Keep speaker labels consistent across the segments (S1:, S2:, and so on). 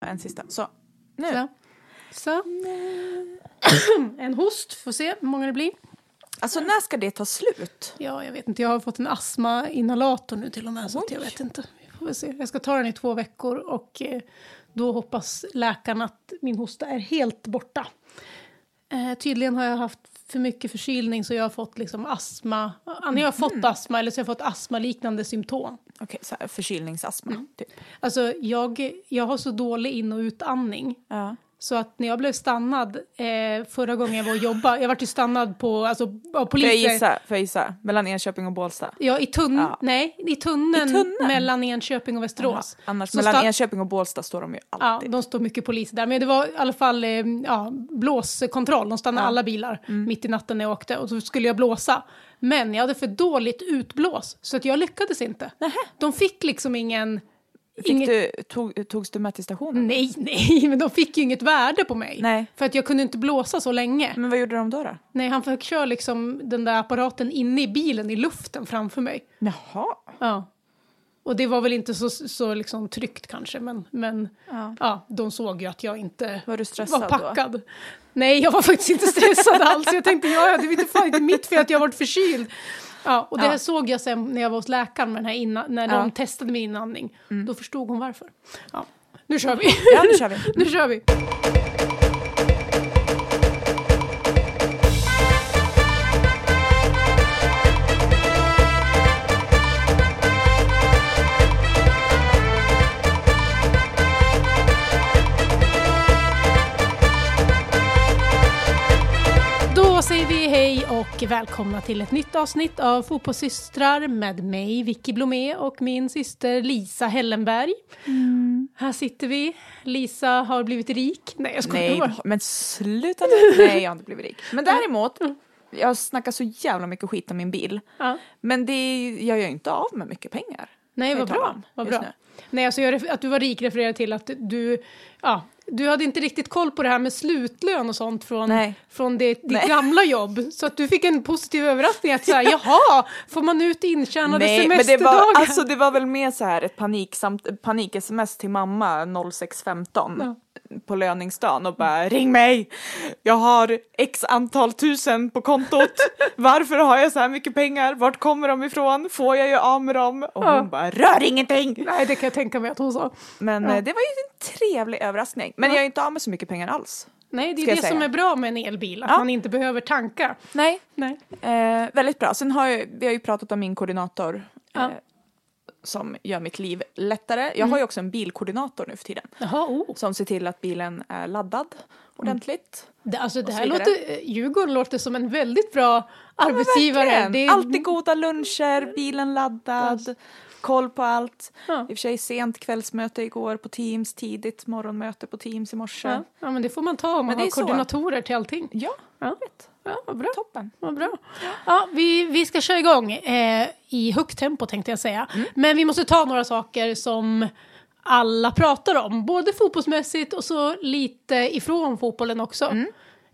S1: en sista. Så, nu.
S2: Så. Så. en host, får se hur många det blir.
S1: Alltså när ska det ta slut?
S2: Ja, jag vet inte. Jag har fått en astmainhalator nu till och med. Så att jag vet inte. Vi får väl se. Jag ska ta den i två veckor och eh, då hoppas läkaren att min hosta är helt borta. Eh, tydligen har jag haft för mycket förkylning så jag har fått liksom astma. Antingen har jag fått astma eller så har jag fått astmaliknande symptom.
S1: Okej, så här, förkylningsastma. Typ.
S2: Alltså jag, jag har så dålig in och utandning.
S1: Ja.
S2: Så att när jag blev stannad eh, förra gången jag var och jobbade, jag vart ju stannad på, alltså, av
S1: Får jag
S2: polisen.
S1: gissa? Får jag gissa? Mellan Enköping och Bålsta?
S2: Ja, i, tunn,
S1: Ja.
S2: Nej, i, tunneln
S1: I tunneln?
S2: mellan Enköping och Västerås.
S1: Annars
S2: Så
S1: mellan
S2: sta-
S1: Enköping och Bålsta står de ju
S2: Ja,
S1: alltid.
S2: de står mycket polis där. Men det var i alla fall eh, ja, blåskontroll. De stannade alla bilar
S1: Mm.
S2: mitt i natten när jag åkte och så skulle jag blåsa. Men jag hade för dåligt utblås så att jag lyckades inte. De fick liksom ingen...
S1: Fick du, tog, togs du med till stationen?
S2: Nej, nej, men de fick ju inget värde på mig.
S1: Nej.
S2: För att jag kunde inte blåsa så länge.
S1: Men vad gjorde de då? då?
S2: Nej, han fick köra liksom den där apparaten inne i bilen i luften framför mig.
S1: Jaha.
S2: Ja. Och det var väl inte så, så liksom tryggt kanske, men, men ja.
S1: Ja.
S2: de såg ju att jag inte
S1: Var du stressad
S2: var
S1: då?
S2: packad. Nej, jag var faktiskt inte stressad alls. Jag tänkte, ja, ja, det är inte fan inte mitt fel att jag varit förkyld. Ja, och det här
S1: Ja.
S2: såg jag sen när jag var hos läkaren med den här inna, när de
S1: Ja. Mm.
S2: testade min inandning. Då förstod hon varför. Ja, nu kör vi.
S1: Ja, nu kör vi.
S2: nu kör vi. Då säger vi hej och välkomna till ett nytt avsnitt av Fotbollssystrar med mig Vicky Blomé och min syster Lisa Hellenberg. Här sitter vi. Lisa har blivit rik. Nej, jag skojar
S1: Nej,
S2: bara.
S1: men sluta nu. Nej, jag har inte blivit rik. Men däremot, jag snackar så jävla mycket skit om min bil.
S2: Ja.
S1: Men det, är- jag gör ju inte av med mycket pengar.
S2: Nej,
S1: Kan jag
S2: vad
S1: tala
S2: bra.
S1: om
S2: Vad
S1: just
S2: bra.
S1: nu.
S2: Nej, alltså jag, ref- att du var rik refererar till att du, ja, du hade inte riktigt koll på det här med slutlön och sånt från,
S1: Nej.
S2: från det, ditt
S1: Nej.
S2: gamla jobb. Så att du fick en positiv överraskning att säga, jaha, får man ut intjänade
S1: Nej, men det
S2: semesterdagar?
S1: var, alltså, det var väl mer så här ett panik, samt, panik-sms till mamma 06.15 på löningsdagen och bara ring mig! Jag har x antal tusen på kontot. Varför har jag så här mycket pengar? Vart kommer de ifrån? Får jag göra av med dem? Och
S2: Ja.
S1: hon bara rör ingenting!
S2: Nej, det kan jag tänka mig att hon sa.
S1: Men eh, det var ju en trevlig överraskning. Men jag är inte av med så mycket pengar alls.
S2: Nej, det är
S1: Ska jag
S2: det
S1: säga.
S2: som är bra med en elbil, att
S1: Ja.
S2: man inte behöver tanka.
S1: Nej.
S2: Nej.
S1: Eh, väldigt bra. Sen har jag, vi har ju pratat om min koordinator
S2: Ja.
S1: eh, som gör mitt liv lättare. Jag har ju också en bilkoordinator nu för tiden.
S2: Jaha, oh.
S1: Som ser till att bilen är laddad ordentligt.
S2: det, alltså, det
S1: så
S2: här
S1: vidare.
S2: låter, eh, Djurgården låter som en väldigt bra arbetsgivare.
S1: Verkligen.
S2: det är,
S1: Alltid goda luncher, bilen laddad, koll på allt.
S2: Ja.
S1: I och för sig sent kvällsmöte igår på Teams, tidigt morgonmöte på Teams i morse.
S2: ja,
S1: Ja,
S2: ja, men det får man ta om man
S1: det
S2: har
S1: är så.
S2: koordinatorer till allting. Ja.
S1: vet.
S2: Ja, vad bra.
S1: toppen.
S2: Vad bra. Ja, vi, vi ska köra igång eh, i högt tempo tänkte jag säga. Men vi måste ta några saker som alla pratar om, både fotbollsmässigt och så lite ifrån fotbollen också.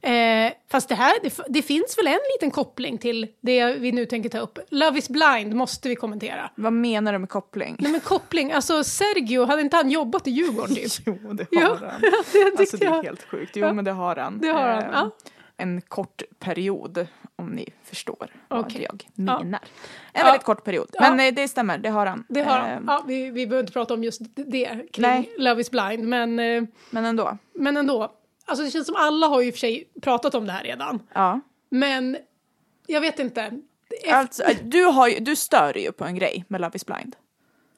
S2: Eh, fast det här, det, f- det finns väl en liten koppling till det vi nu tänker ta upp. Love is blind måste vi kommentera.
S1: Vad menar du med koppling?
S2: Nej men koppling, alltså Sergio, hade inte han jobbat i Djurgården typ?
S1: Jo, det
S2: Ja,
S1: har han.
S2: det
S1: Alltså det
S2: tycker
S1: är
S2: jag.
S1: helt sjukt. Jo,
S2: Ja.
S1: men det har han.
S2: Det har han,
S1: Eh,
S2: ja.
S1: En kort period, om ni förstår vad
S2: Okej.
S1: jag
S2: Ja.
S1: menar. En väldigt kort period.
S2: Ja.
S1: Men eh, det stämmer, det har han.
S2: Det har han.
S1: Eh,
S2: ja, vi, vi behöver inte prata om just det kring
S1: Nej.
S2: Love is blind, men eh,
S1: Men ändå.
S2: Men ändå. Alltså det känns som alla har ju i och för sig pratat om det här redan.
S1: Ja.
S2: Men jag vet inte. Det är-
S1: Alltså, eh, du, har, ju- du stör ju på en grej med Love is blind.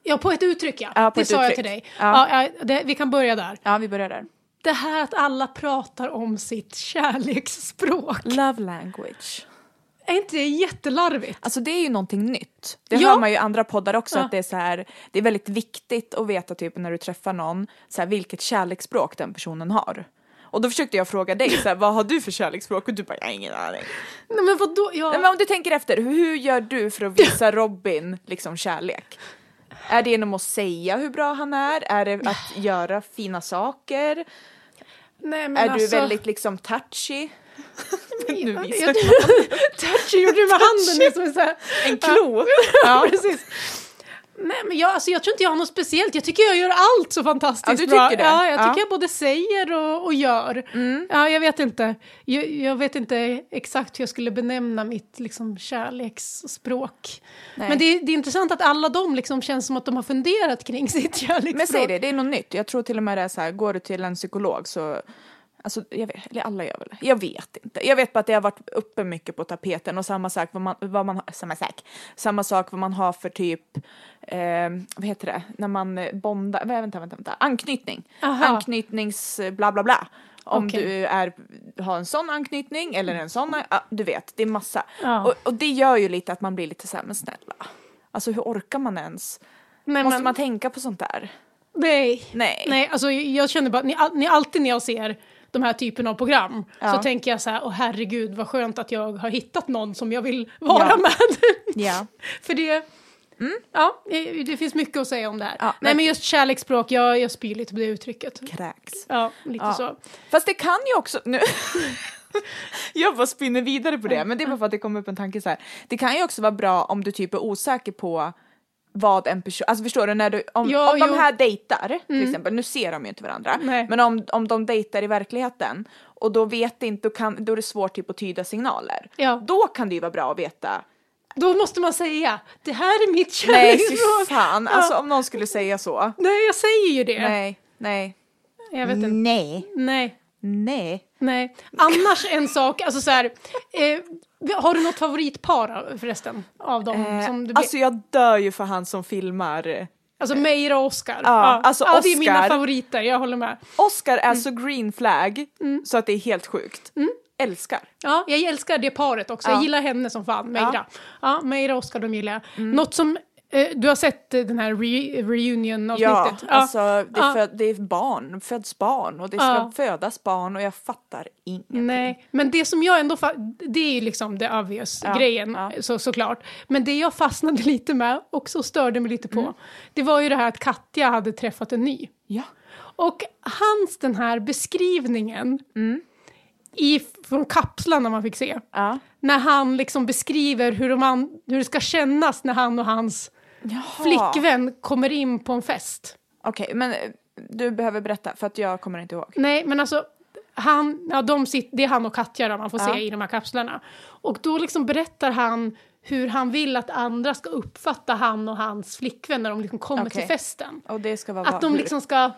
S2: Ja, på ett uttryck ja.
S1: Ja, på
S2: det
S1: ett
S2: sa jag
S1: uttryck.
S2: till dig. Ja.
S1: Ja.
S2: ja, det, vi kan börja där.
S1: Ja, vi börjar där.
S2: Det här att alla pratar om sitt kärleksspråk.
S1: Love language.
S2: Är inte det jättelarvigt?
S1: Alltså det är ju någonting nytt. Det
S2: Ja.
S1: hör man ju i andra poddar också
S2: Ja.
S1: att det är så här, det är väldigt viktigt att veta typ när du träffar någon, så här, vilket kärleksspråk den personen har. Och då försökte jag fråga dig, så här, vad har du för kärleksspråk? Och du bara, jag har ingen aning.
S2: Nej men vadå? Ja,
S1: Nej, men om du tänker efter, hur gör du för att visa Robin liksom kärlek? Är det genom att säga hur bra han är? Är det att göra fina saker?
S2: nej, men
S1: Är
S2: alltså,
S1: du väldigt liksom touchy? nu visar
S2: jag. Touchy gjorde det med handen. Liksom, så här.
S1: En klo!
S2: Ja,
S1: Ja.
S2: precis. Nej, men jag, alltså, jag tror inte jag har något speciellt. Jag tycker jag gör allt så fantastiskt
S1: Ja, du
S2: bra.
S1: tycker det?
S2: Ja, jag
S1: Ja. Mm.
S2: tycker jag både säger och, och gör. Ja, jag vet inte. Jag, jag vet inte exakt hur jag skulle benämna mitt liksom, kärleksspråk.
S1: Nej.
S2: Men det, det är intressant att alla de liksom känns som att de har funderat kring sitt kärleksspråk.
S1: Men säg det, det är något nytt. Jag tror till och med det är så här, går du till en psykolog så Alltså, jag vet, eller alla gör väl det. Jag vet inte. Jag vet bara att det har varit uppe mycket på tapeten och samma sak vad man, vad man har- samma sak, samma sak vad man har för typ, eh, vad heter det, när man eh, bondar, vä- vänta, vänta, vänta, anknytning.
S2: Aha.
S1: Anknytnings eh, bla bla bla. Om
S2: Okej.
S1: du är, har en sån anknytning eller en sån, ja, du vet, det är massa.
S2: Ja.
S1: Och, och det gör ju lite att man blir lite såhär, men snälla. Alltså hur orkar man ens?
S2: Nej,
S1: Måste
S2: men-
S1: man tänka på sånt där?
S2: Nej.
S1: Nej.
S2: Nej, alltså jag känner bara, ni, all- ni, alltid när jag ser de här typen av program så
S1: Ja.
S2: tänker jag så här, åh herregud vad skönt att jag har hittat någon som jag vill vara
S1: Ja.
S2: med.
S1: Ja.
S2: För det, Mm, ja, det det finns mycket att säga om det här.
S1: Ja,
S2: Nej
S1: men-
S2: men just kärleksspråk, jag, jag spyr lite på det uttrycket.
S1: Kräks.
S2: Ja, lite
S1: Ja.
S2: så.
S1: Fast det kan ju också... Nu. Jag bara spinner vidare på det,
S2: Mm.
S1: men det är bara för att det kom upp en tanke så här. Det kan ju också vara bra om du typ är osäker på vad en person, alltså förstår du när du, om,
S2: Ja,
S1: om
S2: jo. Mm.
S1: de här dejtar till exempel, nu ser de ju inte varandra,
S2: Nej.
S1: men om, om de dejtar i verkligheten och då vet inte, då, kan, då är det svårt typ att tyda signaler.
S2: Ja.
S1: Då kan det ju vara bra att veta,
S2: Då måste man säga, det här är mitt
S1: nej fy
S2: kärleksspråk.
S1: fan, alltså
S2: Ja.
S1: om någon skulle säga så,
S2: Nej, jag säger ju det.
S1: nej, Mm. nej,
S2: Jag vet inte.
S1: nej,
S2: Nej.
S1: nej.
S2: Nej, annars en sak, alltså så här, eh, har du något favoritpar förresten? Av dem
S1: Eh,
S2: som du
S1: alltså jag dör ju för han som filmar eh,
S2: alltså Meira och Oscar.
S1: Ja, alltså
S2: ja, det är mina
S1: Oscar.
S2: favoriter, jag håller med.
S1: Oscar är så green flag så att det är helt sjukt. Älskar.
S2: Ja, jag älskar det paret också, jag gillar henne som fan, Meira. Ja, Meira och Oscar, de gillar jag.
S1: Mm.
S2: Något som, eh, du har sett eh, den här re-
S1: Ja,
S2: reunion-avsnittet?
S1: alltså det är,
S2: ja.
S1: föd, det är barn, föds barn och det ska
S2: Ja. Mm.
S1: födas barn och jag fattar ingenting.
S2: Nej, men det som jag ändå, fa- det är ju liksom the obvious
S1: Ja,
S2: grejen
S1: ja.
S2: Så, såklart. Men det jag fastnade lite med, också störde mig lite på,
S1: Mm.
S2: det var ju det här att Katja hade träffat en ny.
S1: Ja.
S2: Och hans den här beskrivningen
S1: Mm.
S2: i, från kapslarna man fick se,
S1: Ja.
S2: när han liksom beskriver hur, de an, hur det ska kännas när han och hans
S1: Jaha.
S2: flickvän kommer in på en fest.
S1: Okej, men eh, du behöver berätta för att jag kommer inte ihåg.
S2: Nej, men alltså, han, ja, de sit, det är han och Katja då, man får
S1: Ja.
S2: se i de här kapslarna. Och då liksom berättar han hur han vill att andra ska uppfatta han och hans flickvän när de liksom kommer
S1: Okej.
S2: till festen.
S1: Och det ska vara
S2: Att de
S1: hur?
S2: liksom ska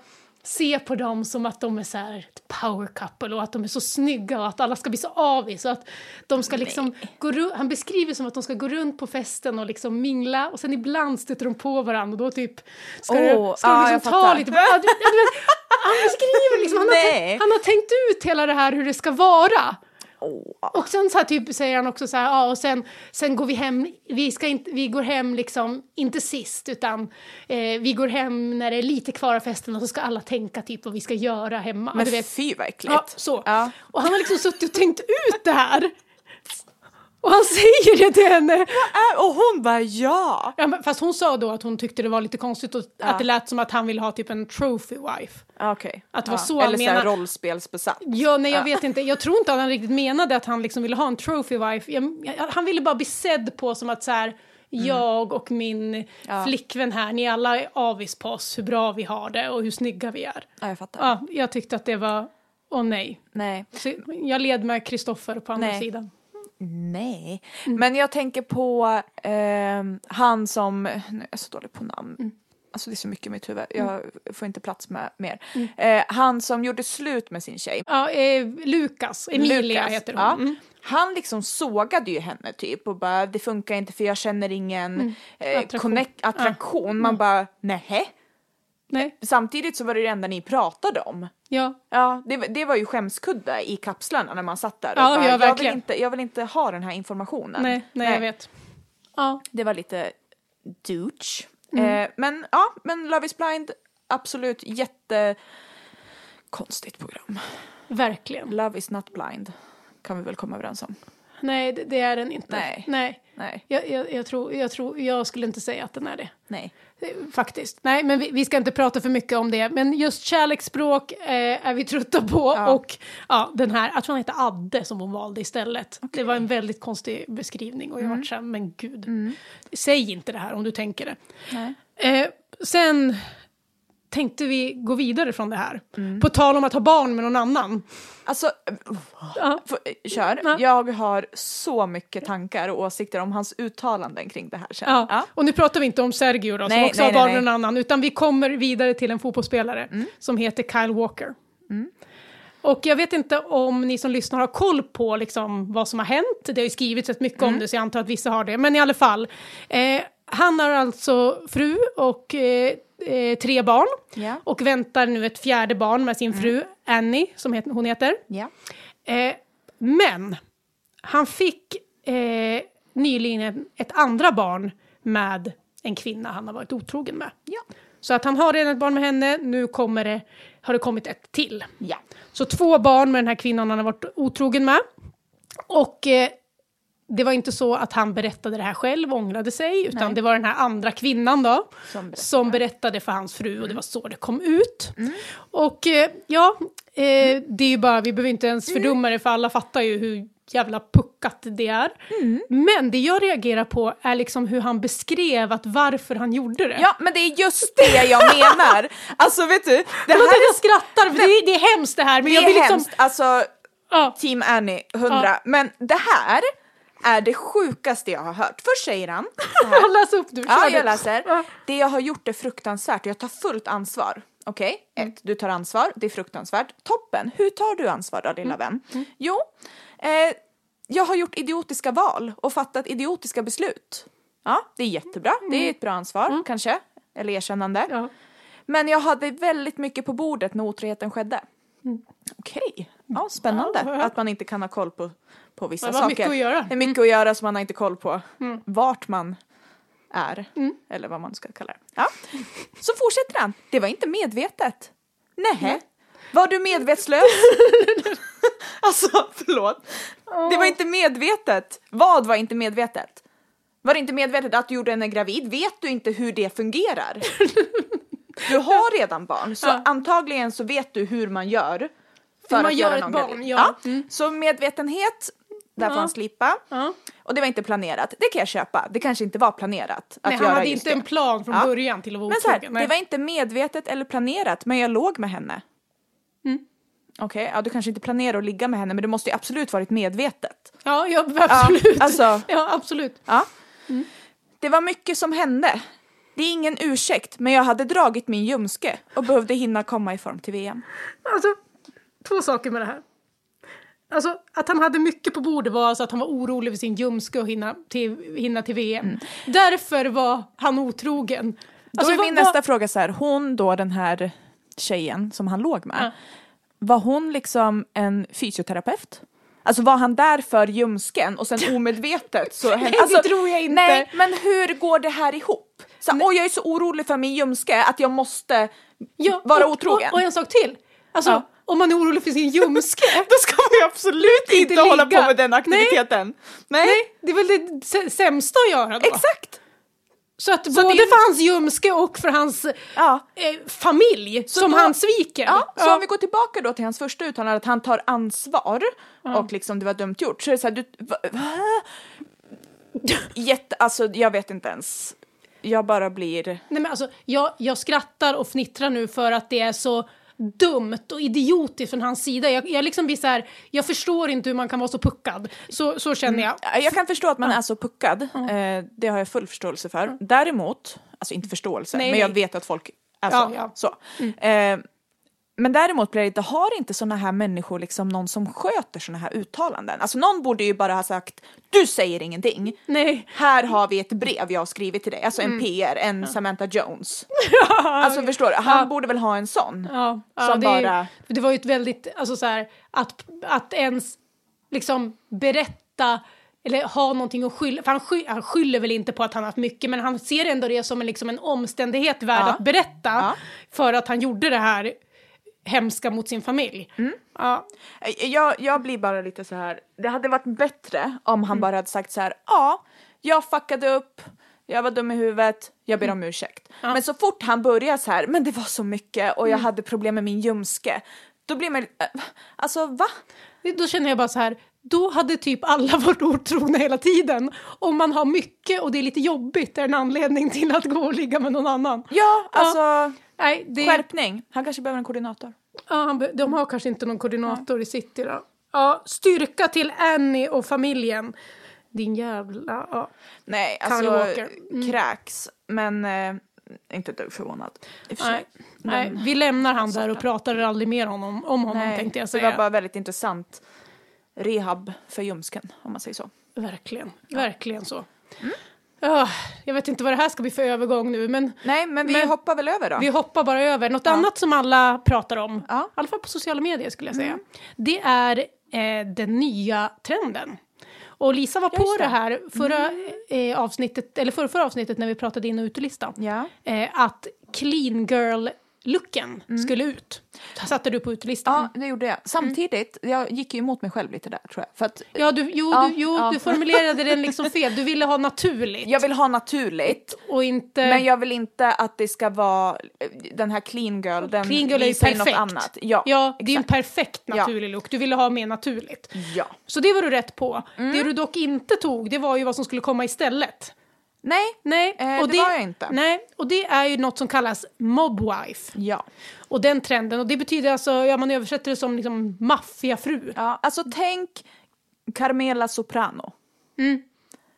S2: se på dem som att de är så här ett power couple och att de är så snygga och att alla ska bli så avis och att de ska liksom gå ru- han beskriver som att de ska gå runt på festen och liksom mingla och sen ibland stöter de på varandra och då typ ska,
S1: Åh,
S2: du, ska
S1: ja,
S2: de
S1: jag
S2: liksom ta
S1: fattar.
S2: lite på, ja, du, ja, du vet, han beskriver liksom, han har,
S1: Nej.
S2: tänkt, han har tänkt ut hela det här hur det ska vara.
S1: Åh.
S2: Och sen så här typ säger han också så här, ja och sen, sen går vi hem, vi, ska inte, vi går hem liksom, inte sist utan eh, vi går hem när det är lite kvar av festen och så ska alla tänka typ vad vi ska göra hemma.
S1: Men
S2: du vet.
S1: fy vad äckligt.
S2: Ja, så.
S1: Ja.
S2: Och han har liksom suttit och tänkt ut det här. Och han säger det till henne.
S1: Äh, Och hon bara ja.
S2: Ja, men fast hon sa då att hon tyckte det var lite konstigt och att det lät som att han ville ha typ en trophy wife.
S1: Okej.
S2: Att det
S1: ja.
S2: var så han
S1: Eller så här
S2: menar-
S1: rollspelsbesatt.
S2: Ja, nej jag vet inte. Jag tror inte att han riktigt menade att han liksom ville ha en trophy wife. Jag, jag, han ville bara bli sedd på som att så här, jag och min
S1: Mm. Ja.
S2: flickvän här, ni alla är avis på oss, hur bra vi har det och hur snygga vi är.
S1: Ja, jag fattar.
S2: Ja, jag tyckte att det var, åh nej.
S1: Nej.
S2: Så jag led med Kristoffer på andra
S1: Nej.
S2: sidan.
S1: Nej,
S2: Mm.
S1: men jag tänker på ehm, han som, nu är jag så dålig på namn,
S2: Mm.
S1: alltså det är så mycket i mitt huvud, jag får inte plats med mer.
S2: Mm.
S1: Eh, han som gjorde slut med sin tjej,
S2: Ja, eh, Lukas, Emilia
S1: Lukas,
S2: heter hon.
S1: ja.
S2: Mm.
S1: Han liksom sågade ju henne typ och bara det funkar inte för jag känner ingen eh,
S2: Mm. Attraktion. Mm.
S1: attraktion. Connect, attraktion. Man bara nähä.
S2: Nej,
S1: Samtidigt så var det det enda ni pratade om.
S2: ja.
S1: Ja, det, var- det var ju skämskudde i kapslarna när man satt där och
S2: Ja, ja,
S1: jag, vill
S2: verkligen.
S1: inte, jag vill inte ha den här informationen.
S2: Nej, nej, jag vet. Ja,
S1: Det var lite douche. Eh, men ja, men Love is blind, absolut jätte konstigt program.
S2: verkligen.
S1: Love is not blind kan vi väl komma överens om.
S2: Nej, det, det är den inte.
S1: Nej.
S2: nej.
S1: Nej,
S2: Jag, jag, jag, tror, jag, tror, jag skulle inte säga att den är det.
S1: nej.
S2: Eh, Faktiskt. Nej, men vi, vi ska inte prata för mycket om det. Men just kärleksspråk eh, är vi trötta på.
S1: Ja.
S2: Och ja, den här, jag tror han hette Adde som hon valde istället. Det var en väldigt konstig beskrivning och jag vart såhär, men gud. Säg inte det här om du tänker det.
S1: nej.
S2: Eh, sen tänkte vi gå vidare från det här. På tal om att ha barn med någon annan.
S1: Alltså,
S2: Ja.
S1: f- kör.
S2: Ja.
S1: Jag har så mycket tankar och åsikter om hans uttalanden kring det här sen.
S2: Ja.
S1: Ja.
S2: Och nu pratar vi inte om Sergio då, som
S1: Nej,
S2: också
S1: nej,
S2: har barn
S1: nej, Mm.
S2: med någon annan, utan vi kommer vidare till en fotbollsspelare som heter Kyle Walker. Och jag vet inte om ni som lyssnar har koll på liksom, vad som har hänt. Det har ju skrivits rätt mycket
S1: Mm.
S2: om det, så jag antar att vissa har det. Men i alla fall, eh, han har alltså fru och eh, eh, tre barn.
S1: Ja.
S2: Och väntar nu ett fjärde barn med
S1: Mm.
S2: sin fru Annie, som het- hon heter.
S1: Ja.
S2: Eh, men han fick eh, nyligen ett andra barn med en kvinna han har varit otrogen med.
S1: Ja.
S2: Så att han har redan ett barn med henne, nu kommer det, har det kommit ett till.
S1: Ja.
S2: Så två barn med den här kvinnan han har varit otrogen med. Och eh, det var inte så att han berättade det här själv och ångrade sig, utan
S1: Nej.
S2: det var den här andra kvinnan då,
S1: Som berättade. Mm.
S2: berättade för hans fru och det var så det kom ut. Och eh, ja, eh, det är ju bara, vi behöver inte ens
S1: Mm.
S2: fördumma det för alla fattar ju hur jävla puckat det är.
S1: Mm.
S2: Men det jag reagerar på är liksom hur han beskrev att varför han gjorde det.
S1: ja, men det är just det jag menar. Alltså vet du, det
S2: Förlåt
S1: här
S2: att jag skrattar, för det, är- det är hemskt det här, men
S1: det
S2: jag vill
S1: är
S2: liksom...
S1: hemskt. Alltså,
S2: Ja.
S1: Team Annie, 100.
S2: Ja.
S1: Men det här är det sjukaste jag har hört. Först säger han så här.
S2: Jag läser upp du, kör
S1: Ja,
S2: du.
S1: jag läser.
S2: Ja.
S1: Det jag har gjort är fruktansvärt och jag tar fullt ansvar. Okej,
S2: Mm.
S1: ett, du tar ansvar, det är fruktansvärt. Toppen, hur tar du ansvar då
S2: Mm.
S1: lilla vän? Jo, eh, jag har gjort idiotiska val och fattat idiotiska beslut. Ja, det är jättebra, det är ett bra ansvar kanske, eller erkännande.
S2: Mm. Ja.
S1: Men jag hade väldigt mycket på bordet när otroheten skedde. Okej, ja, spännande
S2: Mm. Ja, ja.
S1: att man inte kan ha koll på, på vissa
S2: Det var
S1: saker.
S2: mycket att göra. Mm.
S1: Det är mycket att göra som man har inte koll på vart man är,
S2: Mm.
S1: eller vad man ska kalla det. Ja. Så fortsätter han, det var inte medvetet. Nähä, var du medvetslös? alltså, förlåt. Det var inte medvetet. Vad var inte medvetet? Var det inte medvetet att du gjorde henne gravid? Vet du inte hur det fungerar? Du har redan barn, så
S2: Ja.
S1: antagligen så vet du hur man gör. För
S2: man
S1: att
S2: gör
S1: göra
S2: ett
S1: någon
S2: barn,
S1: gravid.
S2: ja. Mm.
S1: Så medvetenhet, där får
S2: Ja.
S1: han slipa.
S2: Ja.
S1: Och det var inte planerat, det kan jag köpa. Det kanske inte var planerat att
S2: Nej,
S1: göra
S2: han hade
S1: just
S2: inte
S1: det.
S2: en plan från
S1: Ja.
S2: början till att vara
S1: Men så här,
S2: otrogen.
S1: det
S2: Nej.
S1: var inte medvetet eller planerat, men jag låg med henne.
S2: Mm.
S1: Okej, ja, du kanske inte planerar att ligga med henne, men det måste ju absolut varit medvetet.
S2: Ja, ja, absolut. Ja,
S1: alltså.
S2: absolut.
S1: Ja.
S2: Mm.
S1: Det var mycket som hände. Det är ingen ursäkt, men jag hade dragit min ljumske och behövde hinna komma i form till VM.
S2: Alltså, två saker med det här. Alltså, att han hade mycket på bordet var alltså att han var orolig för sin ljumske och hinna till, hinna till VM. Därför var han otrogen. Alltså,
S1: Mm. då är
S2: vad-
S1: min
S2: vad-
S1: nästa fråga så här, hon då den här tjejen som han låg med,
S2: Ja.
S1: var hon liksom en fysioterapeut? Alltså var han där för ljumsken och sen omedvetet så hände...
S2: Nej, det
S1: alltså,
S2: tror jag inte.
S1: Nej, men hur går det här ihop? Så, åh, jag är så orolig för min ljumske att jag måste
S2: Ja,
S1: vara
S2: och,
S1: otrogen.
S2: Och, och en sak till. Alltså,
S1: Ja.
S2: om man är orolig för sin ljumske.
S1: Då ska man ju absolut inte,
S2: ligga.
S1: hålla på med den
S2: Nej.
S1: aktiviteten. Nej,
S2: Nej, det är väl det sä- sämsta att göra då?
S1: exakt.
S2: Så att
S1: det
S2: både
S1: är- liksom-
S2: för hans ljumske och för hans
S1: Ja.
S2: eh, familj som
S1: då-
S2: han sviker.
S1: Ja, så om vi går tillbaka då till hans första uttalande att han tar ansvar och liksom det var dumt gjort så är det så här, du, va, va? Jätte, alltså jag vet inte ens. Jag bara blir,
S2: Nej, men alltså, jag, jag skrattar och fnittrar nu för att det är så dumt och idiotiskt från hans sida. Jag, jag liksom blir så här, jag förstår inte hur man kan vara så puckad. Så, så känner jag.
S1: jag kan förstå att man är så puckad, eh, det har jag full förståelse för. Däremot, alltså inte förståelse,
S2: Nej,
S1: men jag
S2: nej.
S1: vet att folk är så.
S2: Ja, ja.
S1: så. Eh, men däremot blir det inte, har inte sådana här människor liksom någon som sköter sådana här uttalanden? Alltså någon borde ju bara ha sagt, du säger ingenting.
S2: Nej.
S1: Här har vi ett brev jag har skrivit till dig, alltså en
S2: Mm.
S1: PR, en Samantha Jones. Alltså förstår du, han borde väl ha en sån.
S2: Ja, ja,
S1: Som
S2: det, är-
S1: bara-
S2: det var ju ett väldigt, alltså så här, att, att ens liksom berätta eller ha någonting att skylla, för han, sky, han skyller väl inte på att han haft mycket men han ser ändå det som en, liksom en omständighet värd
S1: Ja.
S2: att berätta
S1: Ja.
S2: för att han gjorde det här hemska mot sin familj.
S1: Mm.
S2: Ja.
S1: Jag, jag blir bara lite så här. det hade varit bättre om
S2: Mm.
S1: han bara hade sagt så här, ja, jag fuckade upp, jag var dum i huvudet, jag ber om
S2: Mm.
S1: ursäkt. Men så fort han börjar så här, men det var så mycket och jag
S2: Mm.
S1: hade problem med min ljumske, då blir man, äh, alltså va?
S2: Då känner jag bara så här, då hade typ alla varit otrogna hela tiden. Om man har mycket och det är lite jobbigt är en anledning till att gå och ligga med någon annan.
S1: Ja, alltså
S2: Nej, det,
S1: skärpning. Han kanske behöver en koordinator.
S2: ja, han be- de har kanske inte någon koordinator i city då. Ja, styrka till Annie och familjen. Din jävla... Ja.
S1: Nej,
S2: Carl
S1: alltså
S2: Walker. Mm.
S1: kräks. Men eh, inte ett dugg förvånad. I och för sig.
S2: Nej, nej, vi lämnar han där och pratar aldrig mer honom, om honom
S1: Nej,
S2: tänkte jag
S1: det
S2: säga.
S1: var bara väldigt intressant rehab för ljumsken, om man säger så.
S2: Verkligen, verkligen så. Ah, jag vet inte vad det här ska bli för övergång nu, men
S1: Nej, men vi
S2: Men-
S1: hoppar väl över då.
S2: vi hoppar bara över. Något annat som alla pratar om,
S1: Ja. Mm.
S2: i alla fall på sociala medier skulle jag säga, det är eh, den nya trenden. Och Lisa var på
S1: just
S2: det.
S1: det. Mm.
S2: här förra eh, avsnittet, eller förra, förra avsnittet när vi pratade in och utelista.
S1: Ja.
S2: Eh, att clean girl-looken skulle ut. Satte du på utelistan.
S1: Mm. Ja, det gjorde jag. Samtidigt, jag gick ju emot mig själv lite där tror jag. För att
S2: Ja, du, jo,
S1: Ja,
S2: du, jo
S1: ja.
S2: du formulerade den liksom fel. Du ville ha naturligt
S1: jag vill ha naturligt,
S2: och inte...
S1: men jag vill inte att det ska vara eh, den här clean girl, den
S2: Clean girl är ju
S1: visar ju något
S2: perfekt.
S1: annat. Ja,
S2: Ja, det är ju en
S1: exakt.
S2: perfekt
S1: Ja.
S2: naturlig look. Du ville ha mer naturligt.
S1: ja.
S2: Så det var du rätt på.
S1: Mm.
S2: Det du dock inte tog, det var ju vad som skulle komma istället.
S1: Nej,
S2: Nej,
S1: Eh, det var jag inte.
S2: Nej, och det är ju något som kallas mobwife.
S1: ja.
S2: Och den trenden, och det betyder alltså, ja man översätter det som liksom maffiafru.
S1: ja. Alltså tänk Carmela Soprano.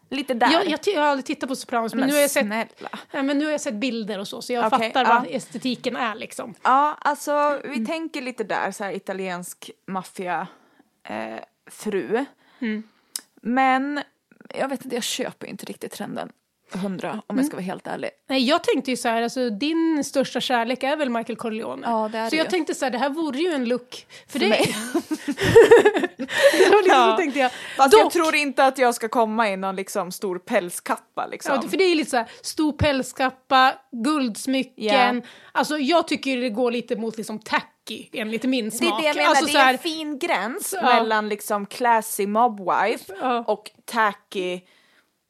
S1: Lite där.
S2: Mm. Jag, jag, t- jag har aldrig tittat på Sopranos, men,
S1: Men
S2: nu, har jag sett,
S1: snälla.
S2: nej, men nu har jag sett bilder och så, så jag
S1: Okej,
S2: fattar
S1: ja.
S2: vad estetiken är liksom.
S1: Ja, alltså vi
S2: Mm.
S1: tänker lite där, så här italiensk maffia eh, fru.
S2: Mm.
S1: Men jag vet inte, jag köper inte riktigt trenden. Hundra,
S2: Mm.
S1: om jag ska vara helt ärlig.
S2: Nej, jag tänkte ju så här, alltså, din största kärlek är väl Michael Corleone?
S1: Ja, det är
S2: så
S1: det
S2: jag
S1: ju.
S2: tänkte så här, det här vore ju en look för,
S1: För
S2: dig.
S1: mig.
S2: Det var liksom,
S1: Ja.
S2: så tänkte jag.
S1: Fast jag
S2: Dock-
S1: tror inte att jag ska komma i någon liksom stor pälskappa liksom.
S2: Ja, för det är lite så här, stor pälskappa, guldsmycken.
S1: Ja.
S2: Alltså jag tycker det går lite mot liksom tacky enligt min
S1: Det
S2: smak.
S1: är det jag menar,
S2: alltså,
S1: det
S2: så
S1: är
S2: här,
S1: en fin gräns
S2: Ja.
S1: mellan liksom classy mobwife
S2: Ja.
S1: och tacky,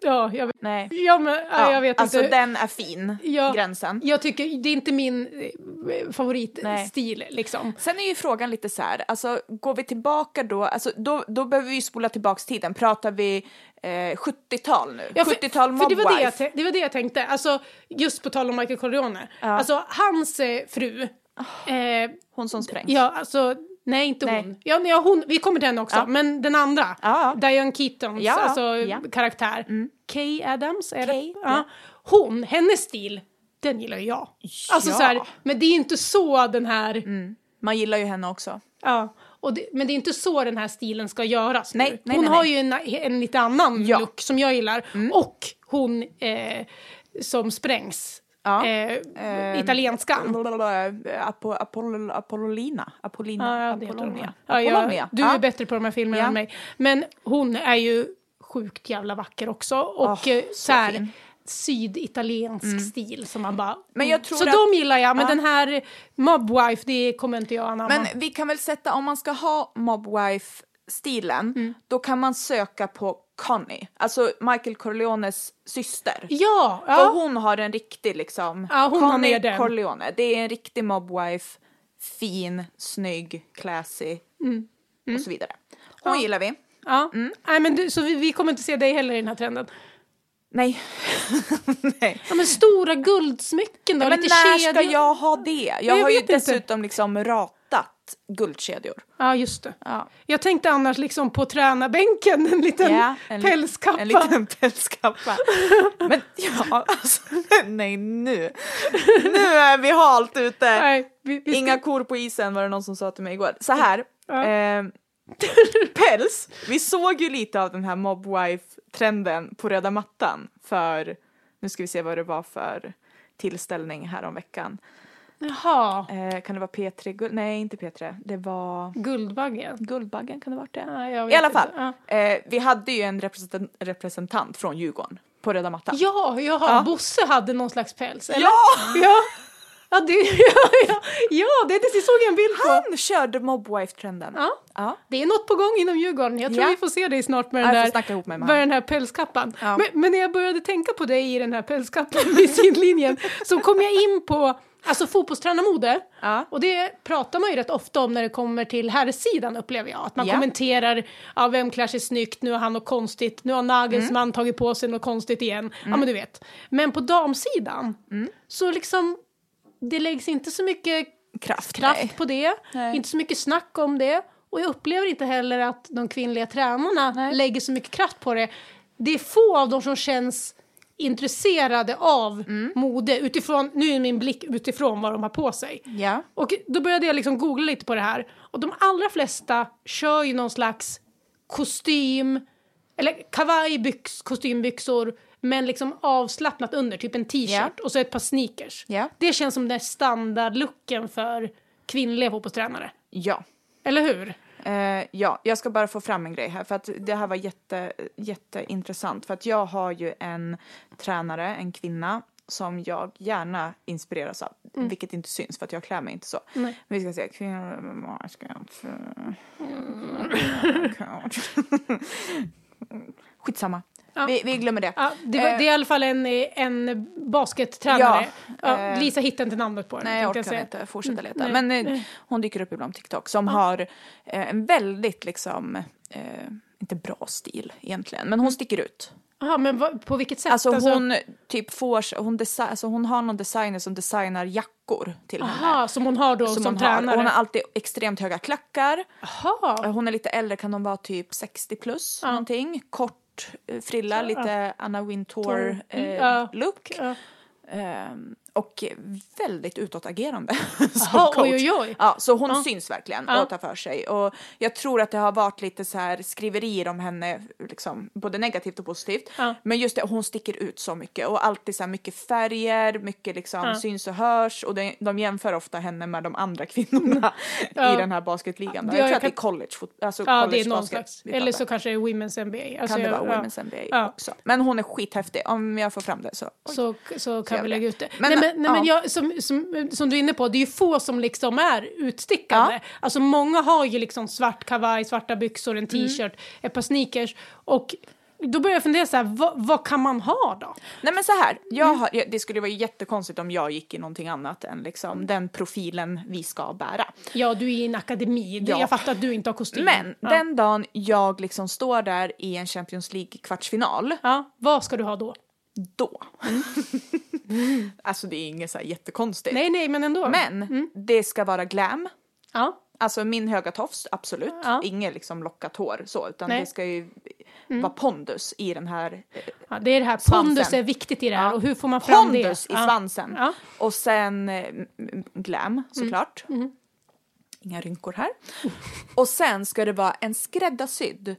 S2: ja, jag, vet-
S1: nej.
S2: ja, men, ja, jag vet
S1: alltså
S2: inte.
S1: den är fin,
S2: Ja.
S1: gränsen.
S2: Jag tycker, det är inte min eh, favoritstil liksom.
S1: Sen är ju frågan lite så här, alltså går vi tillbaka då, alltså då, då behöver vi ju spola tillbaks tiden, pratar vi eh, 70-tal nu?
S2: Ja, för-
S1: 70-tal
S2: för det var det,
S1: mobwife?
S2: jag tän- det var det jag tänkte, alltså, just på tal om Michael Corleone.
S1: Ja. Ah.
S2: Alltså hans eh, fru, eh,
S1: Hon som sprängs?
S2: ja alltså, nej inte
S1: Nej.
S2: hon. Ja, men ja, hon. Vi kommer till henne också,
S1: Ja.
S2: men den andra,
S1: Ja.
S2: Diane Keatons
S1: Ja,
S2: alltså,
S1: ja. Mm.
S2: karaktär, Kay Adams, är det?
S1: Kay,
S2: Ja. Hon, hennes stil, den gillar ju jag. Alltså,
S1: Ja. Mm.
S2: så här, men det är inte så den här,
S1: Man gillar ju henne också.
S2: ja. Och det, men det är inte så den här stilen ska göras
S1: Nej,
S2: nu.
S1: nej,
S2: hon
S1: nej,
S2: har
S1: nej.
S2: ju en, en lite annan
S1: Ja. Mm.
S2: look som jag gillar. Och hon eh, som sprängs,
S1: Ja.
S2: eh,
S1: Ehm,
S2: italienskan.
S1: Apo, Apollo, Apollolina? Apollina?
S2: Ja, det heter hon,
S1: Apollonia?
S2: ja. Ja,
S1: Apollonia?
S2: jag, du är bättre på de här filmerna
S1: Ja.
S2: än mig. Men hon är ju sjukt jävla vacker också. Och
S1: Åh,
S2: eh,
S1: så
S2: så här,
S1: fin. Mm.
S2: syditaliensk stil som man bara...
S1: Men jag tror
S2: så
S1: att-
S2: de gillar jag, men
S1: Ja.
S2: den här Mobwife, det kommer inte jag anamma.
S1: Men vi kan väl sätta, om man ska ha mobwife-stilen,
S2: Mm.
S1: då kan man söka på Connie, alltså Michael Corleones syster.
S2: ja,
S1: För
S2: ja.
S1: hon har en riktig liksom,
S2: Ja, hon har med den.
S1: Corleone, det är en riktig mobwife, fin, snygg, classy och så vidare. Hon
S2: Mm. Ja.
S1: gillar vi.
S2: ja.
S1: Mm.
S2: Nej, men du, så vi, vi kommer inte se dig heller i den här trenden.
S1: Nej. Nej.
S2: Ja, men stora guldsmycken då,
S1: Men
S2: lite
S1: när
S2: kedjor.
S1: ska jag ha det? Jag,
S2: Jag
S1: har ju
S2: vet inte.
S1: dessutom liksom ratat guldkedjor.
S2: Ja, just det.
S1: Ja.
S2: Jag tänkte annars liksom på tränarbänken, en liten
S1: Ja, en li-
S2: pälskappa.
S1: En liten pälskappa. Men ja, alltså, nej nu. Nu är vi halt ute.
S2: Nej, vi, vi ska-
S1: Inga kor på isen var det någon som sa till mig igår. Så här.
S2: Ja.
S1: Eh, päls, vi såg ju lite av den här mobwife-trenden på röda mattan för, nu ska vi se vad det var för tillställning häromveckan.
S2: Jaha.
S1: Eh, kan det vara P3 Guld? Nej, inte P3. Det var
S2: Guldbaggen?
S1: Guldbaggen, kan det ha varit det?
S2: Ja, jag vet
S1: I alla
S2: inte.
S1: fall,
S2: Ja,
S1: eh, vi hade ju en representant, representant från Djurgården på röda mattan.
S2: ja jaha,
S1: Ja.
S2: Bosse hade någon slags päls, eller?
S1: Ja!
S2: Ja, ja, det, ja, ja, ja det, det såg jag en bild på.
S1: Han körde mobwife-trenden.
S2: Ja.
S1: Ja.
S2: Det är något på gång inom Djurgården. Jag tror
S1: Ja.
S2: vi får se dig snart med
S1: Ja,
S2: den,
S1: jag får
S2: där,
S1: snacka ihop mig med
S2: med
S1: han.
S2: den här pälskappan.
S1: Ja.
S2: Men, men när jag började tänka på dig i den här pälskappan vid sidlinjen så kom jag in på Alltså fotbollstränarmode,
S1: Ja.
S2: och det pratar man ju rätt ofta om när det kommer till herrsidan upplever jag. Att man
S1: Ja.
S2: kommenterar, ja, vem klär sig snyggt, nu har han något konstigt, nu har
S1: Mm.
S2: Nagelsmann tagit på sig något konstigt igen. Ja men du vet. Men på damsidan,
S1: Mm.
S2: så liksom, det läggs inte så mycket
S1: Kraft,
S2: kraft
S1: nej.
S2: på det,
S1: Nej.
S2: inte så mycket snack om det. Och jag upplever inte heller att de kvinnliga tränarna
S1: Nej.
S2: lägger så mycket kraft på det. Det är få av dem som känns intresserade av
S1: Mm.
S2: mode utifrån, nu är min blick utifrån vad de har på sig.
S1: Ja.
S2: Och då började jag liksom googla lite på det här. Och de allra flesta kör ju någon slags kostym, eller kavaj, byx, kostymbyxor, men liksom avslappnat under, typ en t-shirt
S1: Ja.
S2: och så ett par sneakers.
S1: Ja.
S2: Det känns som den standardlooken för kvinnliga fotbollstränare.
S1: Ja.
S2: Eller hur?
S1: Eh, ja, jag ska bara få fram en grej här för att det här var jätte, jätteintressant för att jag har ju en tränare, en kvinna som jag gärna inspireras av, vilket inte syns för att jag klär mig inte så.
S2: Mm. Nej.
S1: Vi ska se, kvinnor MMA, ska jag inte- Skitsamma,
S2: Mm. Ja.
S1: vi, vi glömmer det.
S2: Ja, det, var,
S1: Eh.
S2: det är i alla fall en, en baskettränare.
S1: Ja,
S2: Ja,
S1: eh.
S2: Lisa hittade inte namnet på den.
S1: Nej, jag
S2: tänkte
S1: orkar
S2: säga. Mm,
S1: inte fortsätta leta.
S2: nej.
S1: Men eh, hon dyker upp ibland på TikTok som har eh, en väldigt liksom, eh, inte bra stil egentligen, men hon sticker ut.
S2: Jaha, men vad- på vilket sätt?
S1: Alltså hon typ får, sig- hon, desi- alltså hon har någon designer som designar jackor till henne.
S2: Alltså, aha, som hon har då som,
S1: hon, har.
S2: tränare?
S1: Och hon har alltid extremt höga klackar.
S2: Aha.
S1: Eh, Hon är lite äldre, kan hon vara typ 60 plus
S2: Ja.
S1: någonting. Kort eh, frilla, lite Anna
S2: Tor-
S1: Wintour-look.
S2: mm,
S1: Eh,
S2: ja.
S1: look.
S2: Ja.
S1: Ehm, och väldigt utåtagerande som
S2: Jaha,
S1: coach.
S2: oj, oj, oj.
S1: Ja, så hon
S2: Ja.
S1: syns verkligen
S2: Ja.
S1: och tar för sig. Och jag tror att det har varit lite så här skriverier om henne, liksom, både negativt och positivt.
S2: Ja.
S1: Men just det, hon sticker ut så mycket och alltid så här mycket färger, mycket liksom
S2: Ja.
S1: syns och hörs. Och de, de jämför ofta henne med de andra kvinnorna
S2: Ja.
S1: i den här basketligan.
S2: Ja,
S1: jag tror
S2: jag
S1: att det är
S2: kan-
S1: college, alltså
S2: Ja, det
S1: college
S2: är någon
S1: basket
S2: slags.
S1: vi pratar.
S2: Eller så kanske det är Women's NBA. Alltså,
S1: kan det
S2: jag-
S1: vara
S2: ja.
S1: Women's NBA
S2: Ja.
S1: också. Men hon är skithäftig, om jag får fram det så. Oj.
S2: Så, så kan vi
S1: Trevligt.
S2: lägga ut det.
S1: Men,
S2: nej, men, nej, men
S1: ja.
S2: jag, som, som, som du är inne på, det är ju få som liksom är utstickande. Alltså många har ju liksom svart kavaj, svarta byxor, en
S1: Mm.
S2: t-shirt, ett par sneakers. Och då börjar jag fundera så här, vad, vad kan man ha då?
S1: Nej men så här, jag
S2: Mm.
S1: har, jag- det skulle vara jättekonstigt om jag gick i någonting annat än liksom den profilen vi ska bära.
S2: Ja, du är i en akademi. Du-
S1: Ja.
S2: Jag fattar att du inte har kostym.
S1: Men
S2: Mm. ja.
S1: den dagen jag liksom står där i en Champions League-kvartsfinal,
S2: Ja, vad ska du ha då?
S1: då. alltså det är inget så här jättekonstigt.
S2: Mm. Nej, Mm. nej, men ändå.
S1: Men det ska vara glam.
S2: Ja.
S1: Alltså min höga tofs, absolut.
S2: Ja.
S1: Inget liksom lockat hår så, utan
S2: Nej. Mm.
S1: det ska ju vara pondus i den här eh,
S2: ja, det är det här,
S1: Svansen.
S2: pondus är viktigt i det här
S1: Ja.
S2: och hur får man fram
S1: pondus
S2: det?
S1: i
S2: Ja.
S1: svansen.
S2: Ja. Mm.
S1: Och sen eh, m- m- glam såklart. Inga rynkor här. Och sen ska det vara en skräddarsydd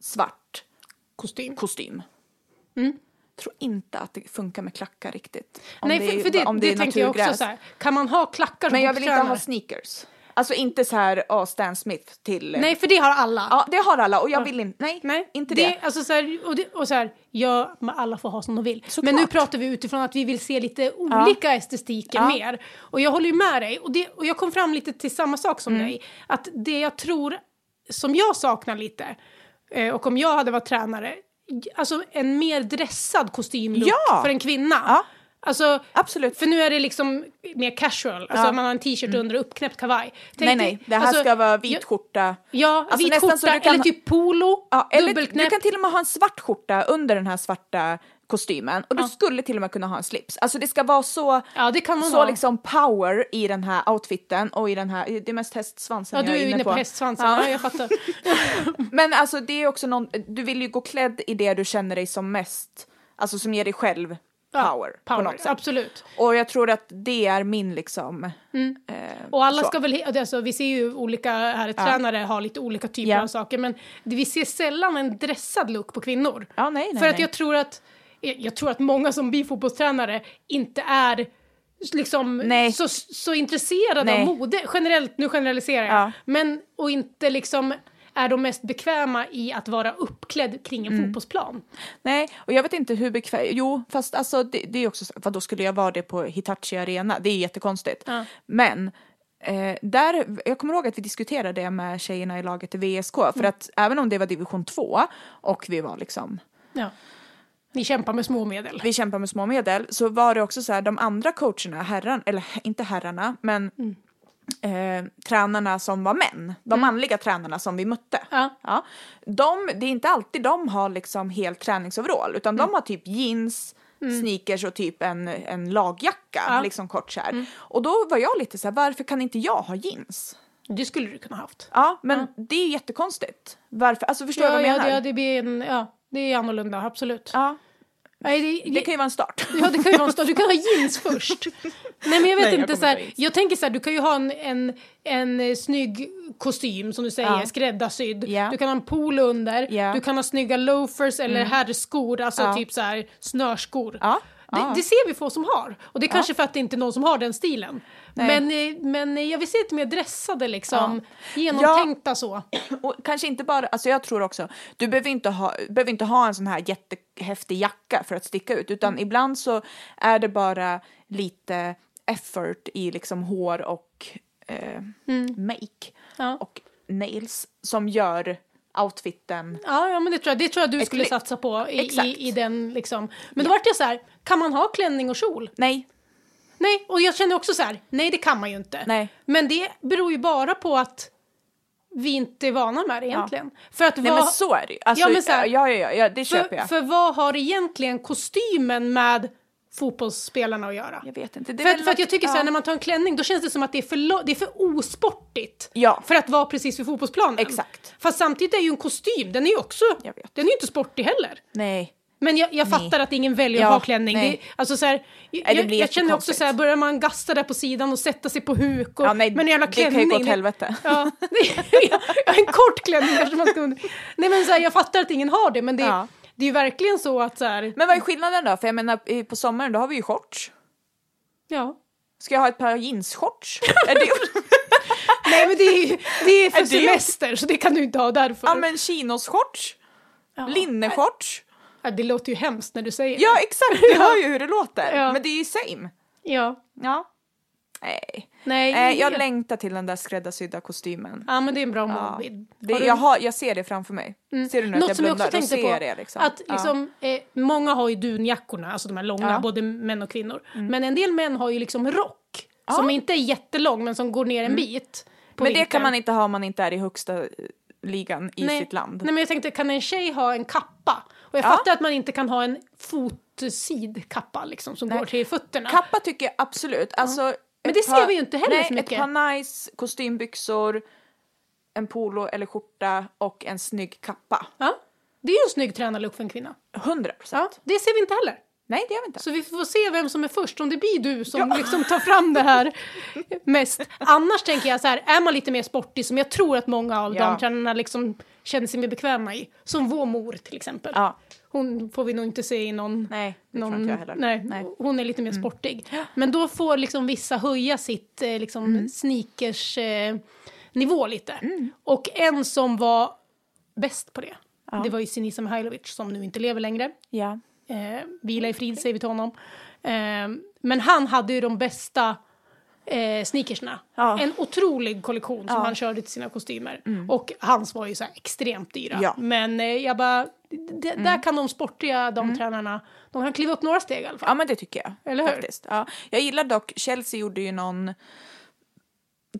S1: svart
S2: Kostym.
S1: kostym. Tror inte att det funkar med klackar riktigt. Om
S2: Mm. Nej,
S1: det är-
S2: för, för det,
S1: om
S2: det,
S1: är
S2: tänker jag också
S1: naturgräs.
S2: så här. Kan man ha klackar som
S1: Men jag vill inte ha
S2: hopptränare?
S1: sneakers. Alltså inte så här, ja, Stan Smith till... eh,
S2: Nej, för det har alla.
S1: Ja, det har alla och jag vill inte, nej, inte det.
S2: Alltså så här, och det, och så här, ja, men alla får ha som de vill. Men nu
S1: Såklart.
S2: pratar vi utifrån att vi vill se lite olika estetiker
S1: Ja.
S2: mer. Och jag håller ju med dig. Och, det, och jag kom fram lite till samma sak som
S1: Mm.
S2: dig. Att det jag tror, som jag saknar lite, eh, och om jag hade varit tränare, j- alltså en mer dressad kostymlook
S1: Ja.
S2: för en kvinna.
S1: Ja.
S2: Alltså,
S1: Absolut.
S2: För nu är det liksom mer casual, alltså
S1: Ja. Mm.
S2: man har en t-shirt under och uppknäppt kavaj. Tänk
S1: nej,
S2: dig-
S1: nej, det här
S2: alltså,
S1: ska vara vit
S2: jag-
S1: skjorta.
S2: Ja,
S1: Alltså
S2: vit
S1: nästan
S2: skjorta
S1: så du kan-
S2: eller typ polo,
S1: Ja, eller du
S2: dubbelknäppt.
S1: kan till och med ha en svart skjorta under den här svarta kostymen och du skulle till och med kunna ha en slips. Alltså det ska vara så,
S2: Ja, det kan man
S1: så
S2: ha.
S1: liksom power i den här outfiten och i den här, det är mest hästsvansen
S2: ja, du
S1: jag
S2: är ju inne på, hästsvansen. Ja. jag fattar.
S1: Men alltså det är också någon, du vill ju gå klädd i det du känner dig som mest, alltså som ger dig själv
S2: Ja,
S1: power, på
S2: power
S1: något sätt.
S2: absolut.
S1: Och jag tror att det är min liksom... eh,
S2: Och alla
S1: så.
S2: ska väl, he- alltså, vi ser ju olika här, tränare har lite olika typer
S1: Ja.
S2: av saker, men det- vi ser sällan en dressad look på kvinnor.
S1: Ja, nej, nej,
S2: För att
S1: nej.
S2: jag tror att, jag jag tror att många som blir fotbollstränare inte är liksom
S1: Nej.
S2: så, så intresserade
S1: Nej.
S2: av mode, generellt, nu generaliserar jag,
S1: Ja.
S2: men och inte liksom är de mest bekväma i att vara uppklädd kring en
S1: Mm.
S2: fotbollsplan.
S1: Nej, och jag vet inte hur bekväm... Jo, fast alltså det, det är också... så- Vadå, skulle jag vara det på Hitachi Arena? Det är jättekonstigt.
S2: Ja.
S1: Men eh, där... Jag kommer ihåg att vi diskuterade det med tjejerna i laget i VSK. För att även om det var division 2 och vi var liksom
S2: Ja. Ni kämpar med små medel.
S1: vi kämpar med små medel så var det också så här de andra coacherna, herrarna, eller inte herrarna men
S2: Mm.
S1: eh, tränarna som var män, de manliga tränarna som vi mötte.
S2: Ja.
S1: Ja, de, det är inte alltid de har liksom helt träningsoverall utan
S2: Mm.
S1: de har typ jeans, sneakers och typ en, en lagjacka,
S2: Ja. Mm.
S1: liksom kort så här. Och då var jag lite så här, varför kan inte jag ha jeans?
S2: Det skulle du kunna haft.
S1: Ja, men det är jättekonstigt. Varför? Alltså förstår du
S2: Ja,
S1: vad jag
S2: ja,
S1: menar?
S2: det, ja, det, blir en, ja, det är annorlunda, absolut.
S1: Ja,
S2: Nej, det,
S1: det kan ju vara en start.
S2: Ja, det kan ju vara en start. Du kan ha jeans först. Nej, men jag vet
S1: Nej, jag
S2: inte.
S1: kommer
S2: så här,
S1: ta jeans.
S2: jag tänker så här, du kan ju ha en, en, en eh, snygg kostym, som du säger,
S1: Ja.
S2: skräddarsydd.
S1: Ja.
S2: Du kan ha en polo under.
S1: Ja. Mm.
S2: Du kan ha snygga loafers eller herrskor, alltså
S1: Ja.
S2: typ så här snörskor.
S1: Ja.
S2: Det,
S1: Ja.
S2: det ser vi få som har. Och det är kanske för att det inte är någon som har den stilen. Men, eh, men eh, jag vill se lite mer dressade liksom, genomtänkta så.
S1: Och kanske inte bara, alltså jag tror också, du behöver inte ha, behöver inte ha en sån här jättehäftig jacka för att sticka ut
S2: Mm.
S1: utan ibland så är det bara lite effort i liksom hår och eh, make
S2: Mm. Ja.
S1: och nails som gör outfiten.
S2: Ja, ja men det tror jag, det tror jag du skulle
S1: lyft.
S2: satsa på i,
S1: Exakt.
S2: i, i den liksom. Men då vart jag så här, kan man ha klänning och kjol?
S1: Nej,
S2: Nej, och jag känner också så här, nej det kan man ju inte.
S1: Nej.
S2: Men det beror ju bara på att vi inte är vana med det egentligen. För att
S1: nej
S2: vad,
S1: men så är det ju. Alltså,
S2: Ja,
S1: ja,
S2: men så här-
S1: ja, ja, ja, ja, det köper
S2: för,
S1: jag.
S2: för vad har egentligen kostymen med fotbollsspelarna att göra?
S1: jag vet inte. Det är
S2: För, att-
S1: väl
S2: för att jag
S1: något-
S2: tycker så här,
S1: ja.
S2: när man tar en klänning då känns det som att det är för, lo- det är för osportigt
S1: Ja.
S2: för att vara precis vid fotbollsplanen.
S1: Exakt.
S2: Fast samtidigt är ju en kostym, den är ju också,
S1: Jag vet.
S2: den är ju inte sportig heller.
S1: Nej.
S2: Men jag, jag fattar att ingen väljer
S1: Ja,
S2: att ha klänning.
S1: nej.
S2: Det, alltså så här, jag,
S1: det
S2: jag,
S1: blir
S2: jag känner också
S1: jättekonstigt.
S2: så här, börjar man gasta där på sidan och sätta sig på huk och,
S1: Ja, nej,
S2: men en jävla
S1: det kan ju
S2: klänning.
S1: gå åt helvete.
S2: Ja, det- ja, en kort klänning kanske man ska undra. Nej men så här, jag fattar att ingen har det men det,
S1: Ja.
S2: det är ju verkligen så att så här,
S1: Men vad är skillnaden då? För jag menar i- på sommaren då har vi ju shorts.
S2: ja.
S1: Ska jag ha ett par jeansshorts? är det...
S2: Nej men det är, ju- det är för
S1: Är det-
S2: semester så det kan du inte ha därför.
S1: Ja men chinosshorts,
S2: Ja.
S1: linneshorts.
S2: Ja, det låter ju hemskt när du säger
S1: Ja exakt, du hör ju hur det låter.
S2: Ja.
S1: Men det är ju same.
S2: det. Ja.
S1: Ja. Nej.
S2: Nej,
S1: Eh, jag
S2: ja.
S1: längtar till den där skräddarsydda kostymen.
S2: ja men det är en bra
S1: Ja.
S2: målbild.
S1: Det,
S2: Har du- Mm.
S1: jag, har, jag ser det framför mig. Ser du nu att
S2: Något
S1: jag
S2: som jag också
S1: blundar? Då
S2: tänkte
S1: ser
S2: på,
S1: jag det liksom.
S2: att
S1: Ja.
S2: liksom, eh, många har ju dunjackorna, alltså de här långa,
S1: Ja. Mm.
S2: både män och kvinnor. Men en del män har ju liksom rock, som inte är jättelång men som går ner en bit. på
S1: Mm. Men det
S2: vintern.
S1: kan man inte ha om man inte är i högsta eh, ligan i
S2: Nej.
S1: sitt land.
S2: Nej men jag tänkte, kan en tjej ha en kappa? Och jag
S1: Ja.
S2: fattar att man inte kan ha en fotsid kappa liksom, som går till fötterna.
S1: Kappa tycker jag absolut. Alltså,
S2: Men
S1: ett
S2: det ser vi ju inte heller
S1: nej,
S2: så mycket.
S1: Ett par nice kostymbyxor, en polo eller skjorta och en snygg kappa.
S2: ja? Det är ju en snygg tränarlook för en kvinna.
S1: 100
S2: Ja,
S1: procent.
S2: det ser vi inte heller.
S1: Nej det gör vi inte.
S2: Så vi får se vem som är först, om det blir du som liksom tar fram det här mest. Annars tänker jag så här, är man lite mer sportig, som jag tror att många av
S1: Ja.
S2: damtränarna liksom känner sig mer bekväma i, som vår mor till exempel.
S1: Ja.
S2: Hon får vi nog inte se i någon...
S1: Nej, det
S2: någon
S1: tror inte jag heller.
S2: Nej,
S1: Nej. Mm.
S2: hon är lite mer sportig. Men då får liksom vissa höja sitt eh, liksom
S1: Mm.
S2: sneakers eh, nivå lite. Och en som var bäst på det, det var ju Sinisa Mihailovic som nu inte lever längre.
S1: Ja.
S2: Eh, vila i frid säger vi till honom. Eh, men han hade ju de bästa eh, sneakersna.
S1: Ja. Mm.
S2: En otrolig kollektion som han körde till sina kostymer. Och hans var ju så här extremt dyra.
S1: Ja. Mm.
S2: Men eh, jag bara, d- där kan de sportiga damtränarna, de kan kliva upp några steg i alla fall.
S1: Ja men det tycker jag.
S2: Eller hur?
S1: Faktiskt. Ja. Jag gillar dock, Chelsea gjorde ju någon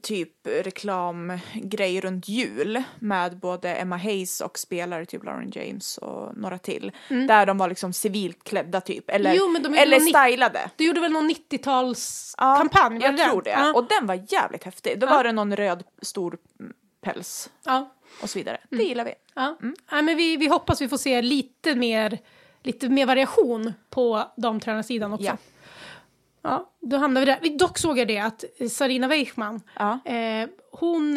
S1: typ reklamgrej runt jul med både Emma Hayes och spelare typ Lauren James och några till. Där de var liksom civilt klädda typ. Eller,
S2: Mm. Jo, men de är
S1: eller
S2: någon nitt-
S1: stylade.
S2: Du gjorde väl någon 90-talskampanj?
S1: Ja,
S2: kampanj var
S1: jag
S2: den?
S1: tror det.
S2: Ja.
S1: Och den var jävligt häftig. Då var det någon röd stor mm, päls
S2: ja.
S1: och så vidare.
S2: Mm.
S1: Det gillar vi.
S2: Ja. Nej, men vi, vi hoppas vi får se lite mer, lite mer variation på damtränarsidan också. Ja.
S1: Ja.
S2: då hamnar vi där. Vi- Dock såg jag det att Sarina Weichman,
S1: Ja.
S2: eh, hon...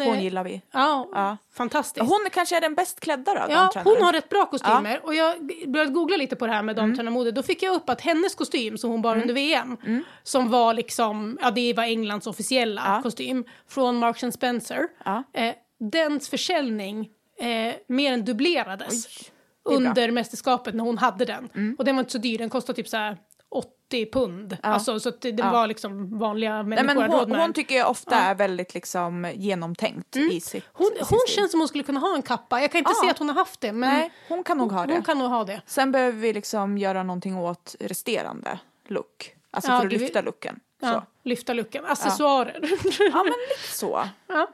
S1: Hon
S2: eh,
S1: gillar vi.
S2: Ja,
S1: Ja.
S2: fantastiskt.
S1: Hon kanske är den bäst klädda då,
S2: Ja,
S1: damtränaren.
S2: hon har rätt bra kostymer och jag började googla lite på det här med
S1: Mm.
S2: damtränarmode. Då fick jag upp att hennes kostym som hon bar under VM, som var liksom, ja det var Englands officiella
S1: Mm. Ja.
S2: kostym, från Marks and Spencer,
S1: Ja.
S2: eh, dens försäljning eh, mer än dubblerades
S1: det är bra. Mm.
S2: under mästerskapet när hon hade den. Och den var inte så dyr, den kostade typ så här 80 pund. Alltså, så att det, det var liksom vanliga
S1: Nej, men
S2: människor jag hade råd
S1: hon,
S2: med.
S1: hon tycker jag ofta är väldigt liksom genomtänkt i sitt
S2: Mm. hon,
S1: i sin
S2: hon
S1: stil.
S2: känns som hon skulle kunna ha en kappa. Jag kan inte
S1: Ja.
S2: se att hon har haft det. Men
S1: Nej, hon kan nog ha det.
S2: Hon kan nog ha det.
S1: Sen behöver vi liksom göra någonting åt resterande look. Alltså
S2: Ja,
S1: för att
S2: det vi-
S1: lyfta looken.
S2: Ja,
S1: Så.
S2: lyfta luckan. Accessoarer.
S1: Ja, men lite så.
S2: Ja.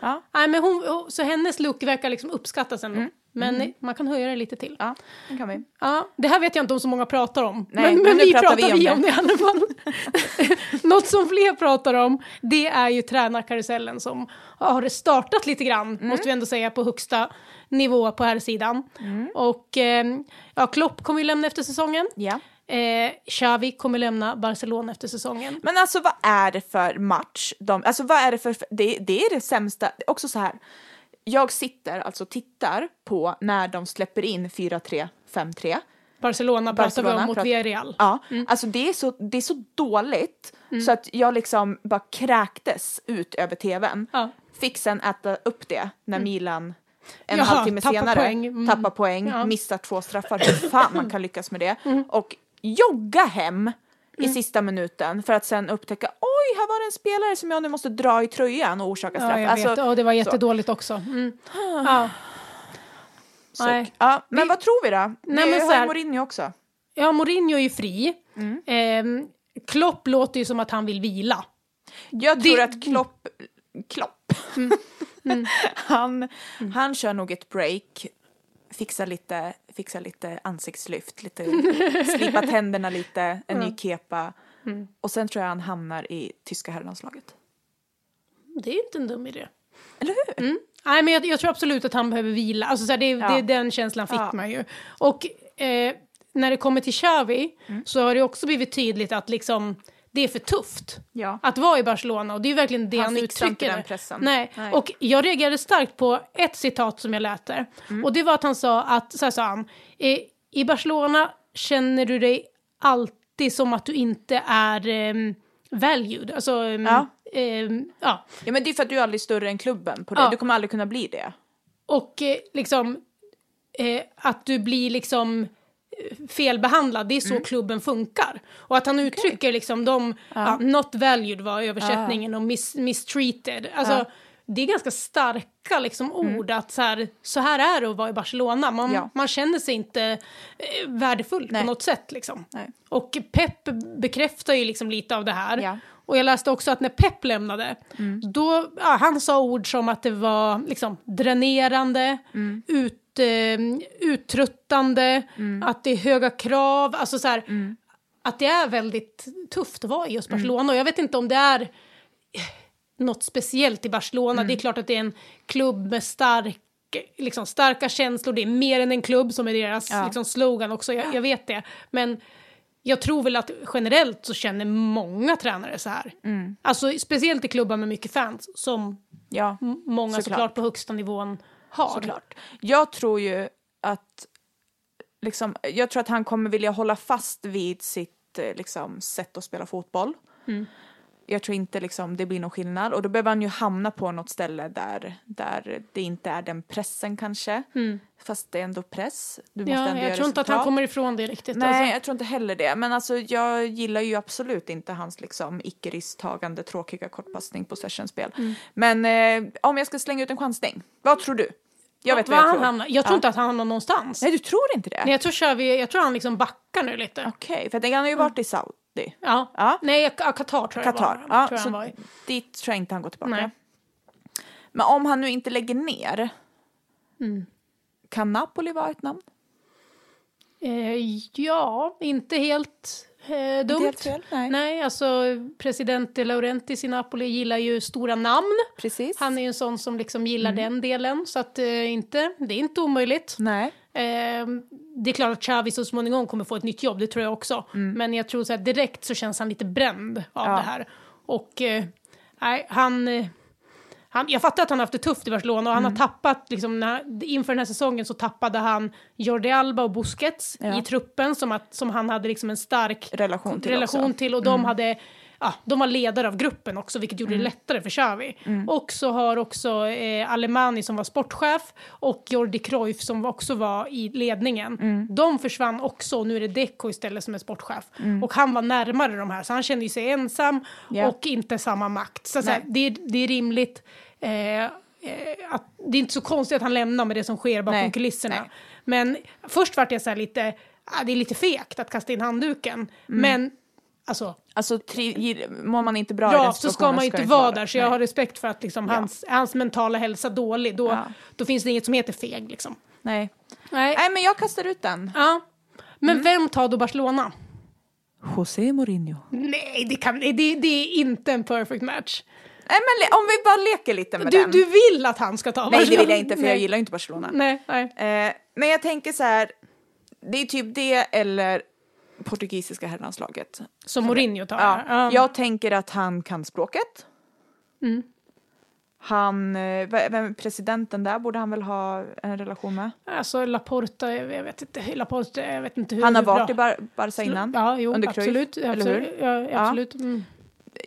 S1: Ja.
S2: Nej, men hon, så hennes look verkar liksom uppskattas ändå.
S1: Mm.
S2: Men man kan höja det lite till.
S1: Ja, det kan vi.
S2: Ja, det här vet jag inte om så många pratar om.
S1: Nej,
S2: men,
S1: men
S2: men
S1: nu
S2: vi
S1: pratar
S2: pratar
S1: vi om
S2: vi
S1: det.
S2: om det i alla fall. Något som fler pratar om, det är ju tränarkarusellen som har startat lite grann,
S1: Mm.
S2: måste vi ändå säga, på högsta nivå på här sidan.
S1: Mm.
S2: Och eh, ja, Klopp kommer ju lämna efter säsongen.
S1: Ja.
S2: Eh, Xavi kommer lämna Barcelona efter säsongen.
S1: Men alltså vad är det för match? De, alltså vad är det för, det, det är det sämsta, också så här. Jag sitter, alltså tittar på när de släpper in 4-3, 5-3.
S2: Barcelona pratar vi
S1: Barcelona
S2: om mot
S1: pratar-
S2: Villarreal.
S1: Ja, alltså det är så, det är så dåligt så att jag liksom bara kräktes ut över tvn.
S2: Ja.
S1: Fick sen äta upp det när Milan en
S2: Mm. Jaha,
S1: halvtimme
S2: tappar
S1: senare
S2: poäng. Mm.
S1: tappar poäng, missar två straffar. Hur fan man kan lyckas med det.
S2: Mm.
S1: Och jogga hem i sista minuten för att sen upptäcka oj, här var det en spelare som jag nu måste dra i tröjan och orsaka straff. Alltså, Ah.
S2: Ja, jag vet. Ja, det var jättedåligt också. Mm. Ja.
S1: Så,
S2: Nej.
S1: så, ja, men vad tror vi då?
S2: Nej,
S1: vi har
S2: men så
S1: ju
S2: här-
S1: Mourinho också.
S2: Ja, Mourinho är ju fri.
S1: Mm.
S2: Ehm, Klopp låter ju som att han vill vila.
S1: Jag tror
S2: Det-
S1: att Klopp, Klopp, han, han kör nog ett break, fixar lite, fixar lite ansiktslyft, lite, slipar tänderna lite, en ny kepa. Och sen tror jag han hamnar i tyska herrlandslaget.
S2: Det är inte en dum idé. Mm.
S1: Eller hur?
S2: Nej, men jag, jag tror absolut att han behöver vila. Alltså, så här, det, det, den känslan fick
S1: Ja.
S2: man ju. Och eh, när det kommer till Xavi
S1: Mm.
S2: så har det också blivit tydligt att liksom, det är för tufft.
S1: Ja.
S2: att vara i Barcelona och det är ju verkligen det
S1: Han
S2: han,
S1: fixar
S2: uttrycker.
S1: inte den
S2: där.
S1: pressen.
S2: Nej.
S1: Nej.
S2: Och jag reagerade starkt på ett citat som jag lät där.
S1: Mm.
S2: Och det var att han sa att, så här sa han, "I- i Barcelona känner du dig alltid som att du inte är um, valued. Alltså, ehm,
S1: Ja.
S2: ehm, ja.
S1: Ja men det är för att du är aldrig större än klubben på det,
S2: Ja.
S1: du kommer aldrig kunna bli det.
S2: Och eh, liksom eh, att du blir liksom eh, felbehandlad, det är
S1: Mm.
S2: så klubben funkar. Och att han uttrycker liksom de, ja, not valued var översättningen och mis, mistreated. Alltså, Det är ganska starka liksom, ord att så här, så här är det att vara i Barcelona. Man,
S1: Mm. Ja.
S2: man känner sig inte eh, värdefull
S1: Nej.
S2: på något sätt. Liksom.
S1: Nej.
S2: Och Pep bekräftar ju liksom lite av det här.
S1: Ja.
S2: Och jag läste också att när Pep lämnade, då, ja, han sa ord som att det var liksom, dränerande, ut, eh, uttröttande, att det är höga krav, alltså så här, att det är väldigt tufft att vara i just Barcelona. Och jag vet inte om det är eh, något speciellt i Barcelona.
S1: Mm.
S2: Det är klart att det är en klubb med stark Liksom starka känslor, det är mer än en klubb som är deras
S1: Ja.
S2: liksom slogan också, jag, jag vet det. Men jag tror väl att generellt så känner många tränare så här.
S1: Mm.
S2: Alltså speciellt i klubbar med mycket fans som
S1: Ja,
S2: m- många såklart,
S1: Såklart.
S2: på högsta nivån har.
S1: såklart. Jag tror ju att, liksom, jag tror att han kommer vilja hålla fast vid sitt eh, liksom, sätt att spela fotboll.
S2: Mm.
S1: Jag tror inte liksom, det blir någon skillnad och då behöver han ju hamna på något ställe där, där det inte är den pressen kanske. Fast det är ändå press. Du måste
S2: Mm. Ja,
S1: ändå
S2: jag
S1: göra
S2: tror inte att han
S1: resultat.
S2: kommer ifrån det riktigt.
S1: Nej,
S2: Alltså.
S1: jag tror inte heller det. Men alltså, jag gillar ju absolut inte hans liksom, icke-risktagande, tråkiga kortpassning på sessionspel.
S2: Mm.
S1: Men eh, om jag ska slänga ut en chansning, vad tror du? Jag vet
S2: Var
S1: vad jag
S2: han
S1: tror.
S2: hamnar. Jag tror inte att han hamnar någonstans. Nej.
S1: Nej, du tror inte det?
S2: jag, tror Xavi, jag tror han liksom backar nu lite.
S1: Okej, för jag tänker, han har ju varit i Saudi,
S2: Ja.
S1: Ja.
S2: Nej, jag- ja, Qatar tror jag
S1: Qatar.
S2: det var.
S1: Ja,
S2: tror jag han var
S1: så
S2: i.
S1: dit tror jag inte han går tillbaka.
S2: Nej.
S1: Men om han nu inte lägger ner,
S2: Mm.
S1: kan Napoli vara ett namn?
S2: Eh, ja, inte helt eh, dumt.
S1: helt fel, nej.
S2: nej, alltså president De Laurentiis i Napoli gillar ju stora namn.
S1: Precis.
S2: Han är ju en sån som liksom gillar
S1: Mm.
S2: den delen, så att, eh, inte, det är inte omöjligt.
S1: Nej.
S2: Eh, det är klart att Xavi så småningom kommer få ett nytt jobb, det tror jag också. Men jag tror så här, direkt så känns han lite bränd av
S1: Mm. Ja.
S2: det här. Och eh, nej, han, eh, han... Jag fattar att han har haft det tufft i Barcelona och
S1: Mm.
S2: han har tappat, liksom, när, inför den här säsongen så tappade han Jordi Alba och Busquets
S1: Ja.
S2: i truppen som, att, som han hade liksom en stark
S1: Relation till
S2: relation
S1: också. Mm.
S2: till och de hade ja, de var ledare av gruppen också vilket gjorde det lättare för Xavi.
S1: Mm.
S2: Och så har också eh, Alemani som var sportchef och Jordi Cruyff som också var i ledningen.
S1: Mm.
S2: De försvann också och nu är det Deco istället som är sportchef. Och han var närmare de här så han kände ju sig ensam
S1: Mm. Ja.
S2: och inte samma makt. Så, så här,
S1: Nej.
S2: det, är, det är rimligt. Eh, eh, att, det är inte så konstigt att han lämnar med det som sker bakom
S1: Nej,
S2: kulisserna.
S1: nej.
S2: Men först vart jag så här lite, ah, det är lite fegt att kasta in handduken. Men alltså,
S1: Alltså tri- ger- mår man inte bra i
S2: ja
S1: den
S2: så ska
S1: situationen
S2: man ju
S1: det
S2: inte vara
S1: där.
S2: där. Så jag
S1: Nej.
S2: har respekt för att liksom, hans, hans mentala hälsa dålig. Då,
S1: Ja.
S2: då finns det inget som heter feg liksom.
S1: Nej.
S2: Nej. Mm.
S1: Nej, men jag kastar ut den.
S2: Ja. Men vem tar då Barcelona?
S1: José Mourinho.
S2: Nej, det, kan, det, det är inte en perfect match.
S1: Nej, men le- om vi bara leker lite med
S2: Du,
S1: den.
S2: du vill att han ska ta
S1: Nej, det
S2: Barcelona?
S1: vill jag inte för jag
S2: Nej.
S1: gillar ju inte Barcelona.
S2: Nej, nej.
S1: Eh, men jag tänker så här, det är typ det eller portugisiska herrlandslaget.
S2: Som Mourinho tar
S1: Ja.
S2: ja. Mm.
S1: Jag tänker att han kan språket. Han, eh, v- vem, presidenten där borde han väl ha en relation med?
S2: Alltså Laporta, jag vet inte, Laporta, jag vet inte hur
S1: Han har
S2: hur
S1: varit
S2: bra-
S1: i Bar- Barca innan.
S2: Ja, jo,
S1: under Cruyff,
S2: absolut.
S1: eller
S2: absolut. Ja, absolut. Mm.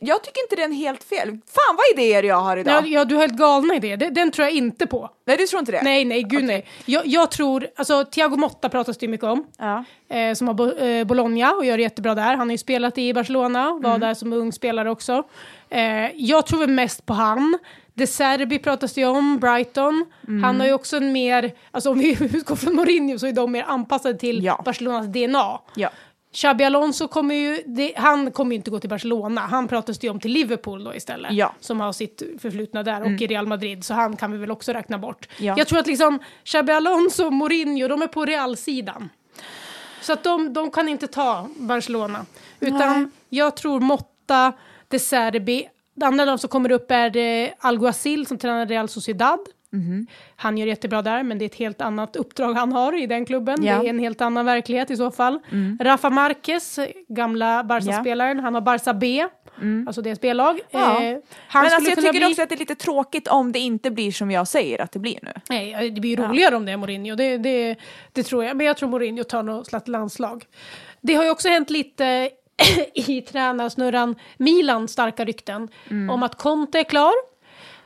S1: Jag tycker inte det är en helt fel. Fan vad idéer jag har idag!
S2: Ja. ja, du har helt galna idéer. Den, den tror jag inte på.
S1: Nej du tror inte det?
S2: Nej, nej, gud nej. Jag, jag tror, alltså Thiago Motta pratas det ju mycket om.
S1: Ja.
S2: eh, som har Bo- eh, Bologna och gör det jättebra där. Han har ju spelat i Barcelona,
S1: Mm.
S2: var där som ung spelare också. Eh, jag tror väl mest på han. De Serbi pratas det ju om, Brighton.
S1: Mm.
S2: Han har ju också en mer, alltså om vi utgår från Mourinho så är de mer anpassade till
S1: Ja.
S2: Barcelonas DNA.
S1: Ja.
S2: Xabi Alonso kommer ju, det, han kommer ju inte gå till Barcelona, han pratas det ju om till Liverpool då istället.
S1: Ja. Mm.
S2: Som har sitt förflutna där och i Real Madrid, så han kan vi väl också räkna bort.
S1: Ja.
S2: Jag tror att liksom Xabi Alonso och Mourinho, de är på Real-sidan. Så att de, de kan inte ta Barcelona. Utan
S1: Nej.
S2: jag tror Motta, De Serbi, det andra namn som kommer upp är eh, Alguacil som tränar Real Sociedad.
S1: Mhm.
S2: Han gör jättebra där, men det är ett helt annat uppdrag han har i den klubben.
S1: Ja.
S2: Det är en helt annan verklighet i så fall.
S1: Mm.
S2: Rafa Marquez, gamla Barca-spelaren, han har Barca B, alltså det spellag.
S1: Mm. Ja.
S2: Eh, han
S1: Men
S2: skulle
S1: alltså, jag
S2: kunna
S1: tycker
S2: bli...
S1: också att det är lite tråkigt om det inte blir som jag säger att det blir nu.
S2: Nej, det blir ju roligare om det är Mourinho. Det, det, det tror jag. Men jag tror Mourinho tar något slags landslag. Det har ju också hänt lite i tränarsnurran Milan starka rykten
S1: Mm.
S2: om att Conte är klar.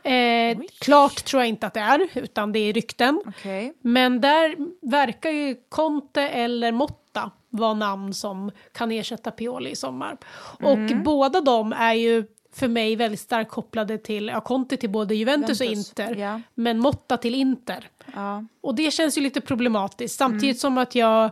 S2: Eh, klart tror jag inte att det är, utan det är rykten.
S1: Okej.
S2: Men där verkar ju Conte eller Motta vara namn som kan ersätta Pioli i sommar.
S1: Mm.
S2: Och båda de är ju för mig väldigt starkt kopplade till, ja Conte till både Juventus,
S1: Juventus,
S2: och Inter,
S1: ja.
S2: men Motta till Inter.
S1: Ja.
S2: Och det känns ju lite problematiskt, samtidigt
S1: Mm.
S2: som att jag,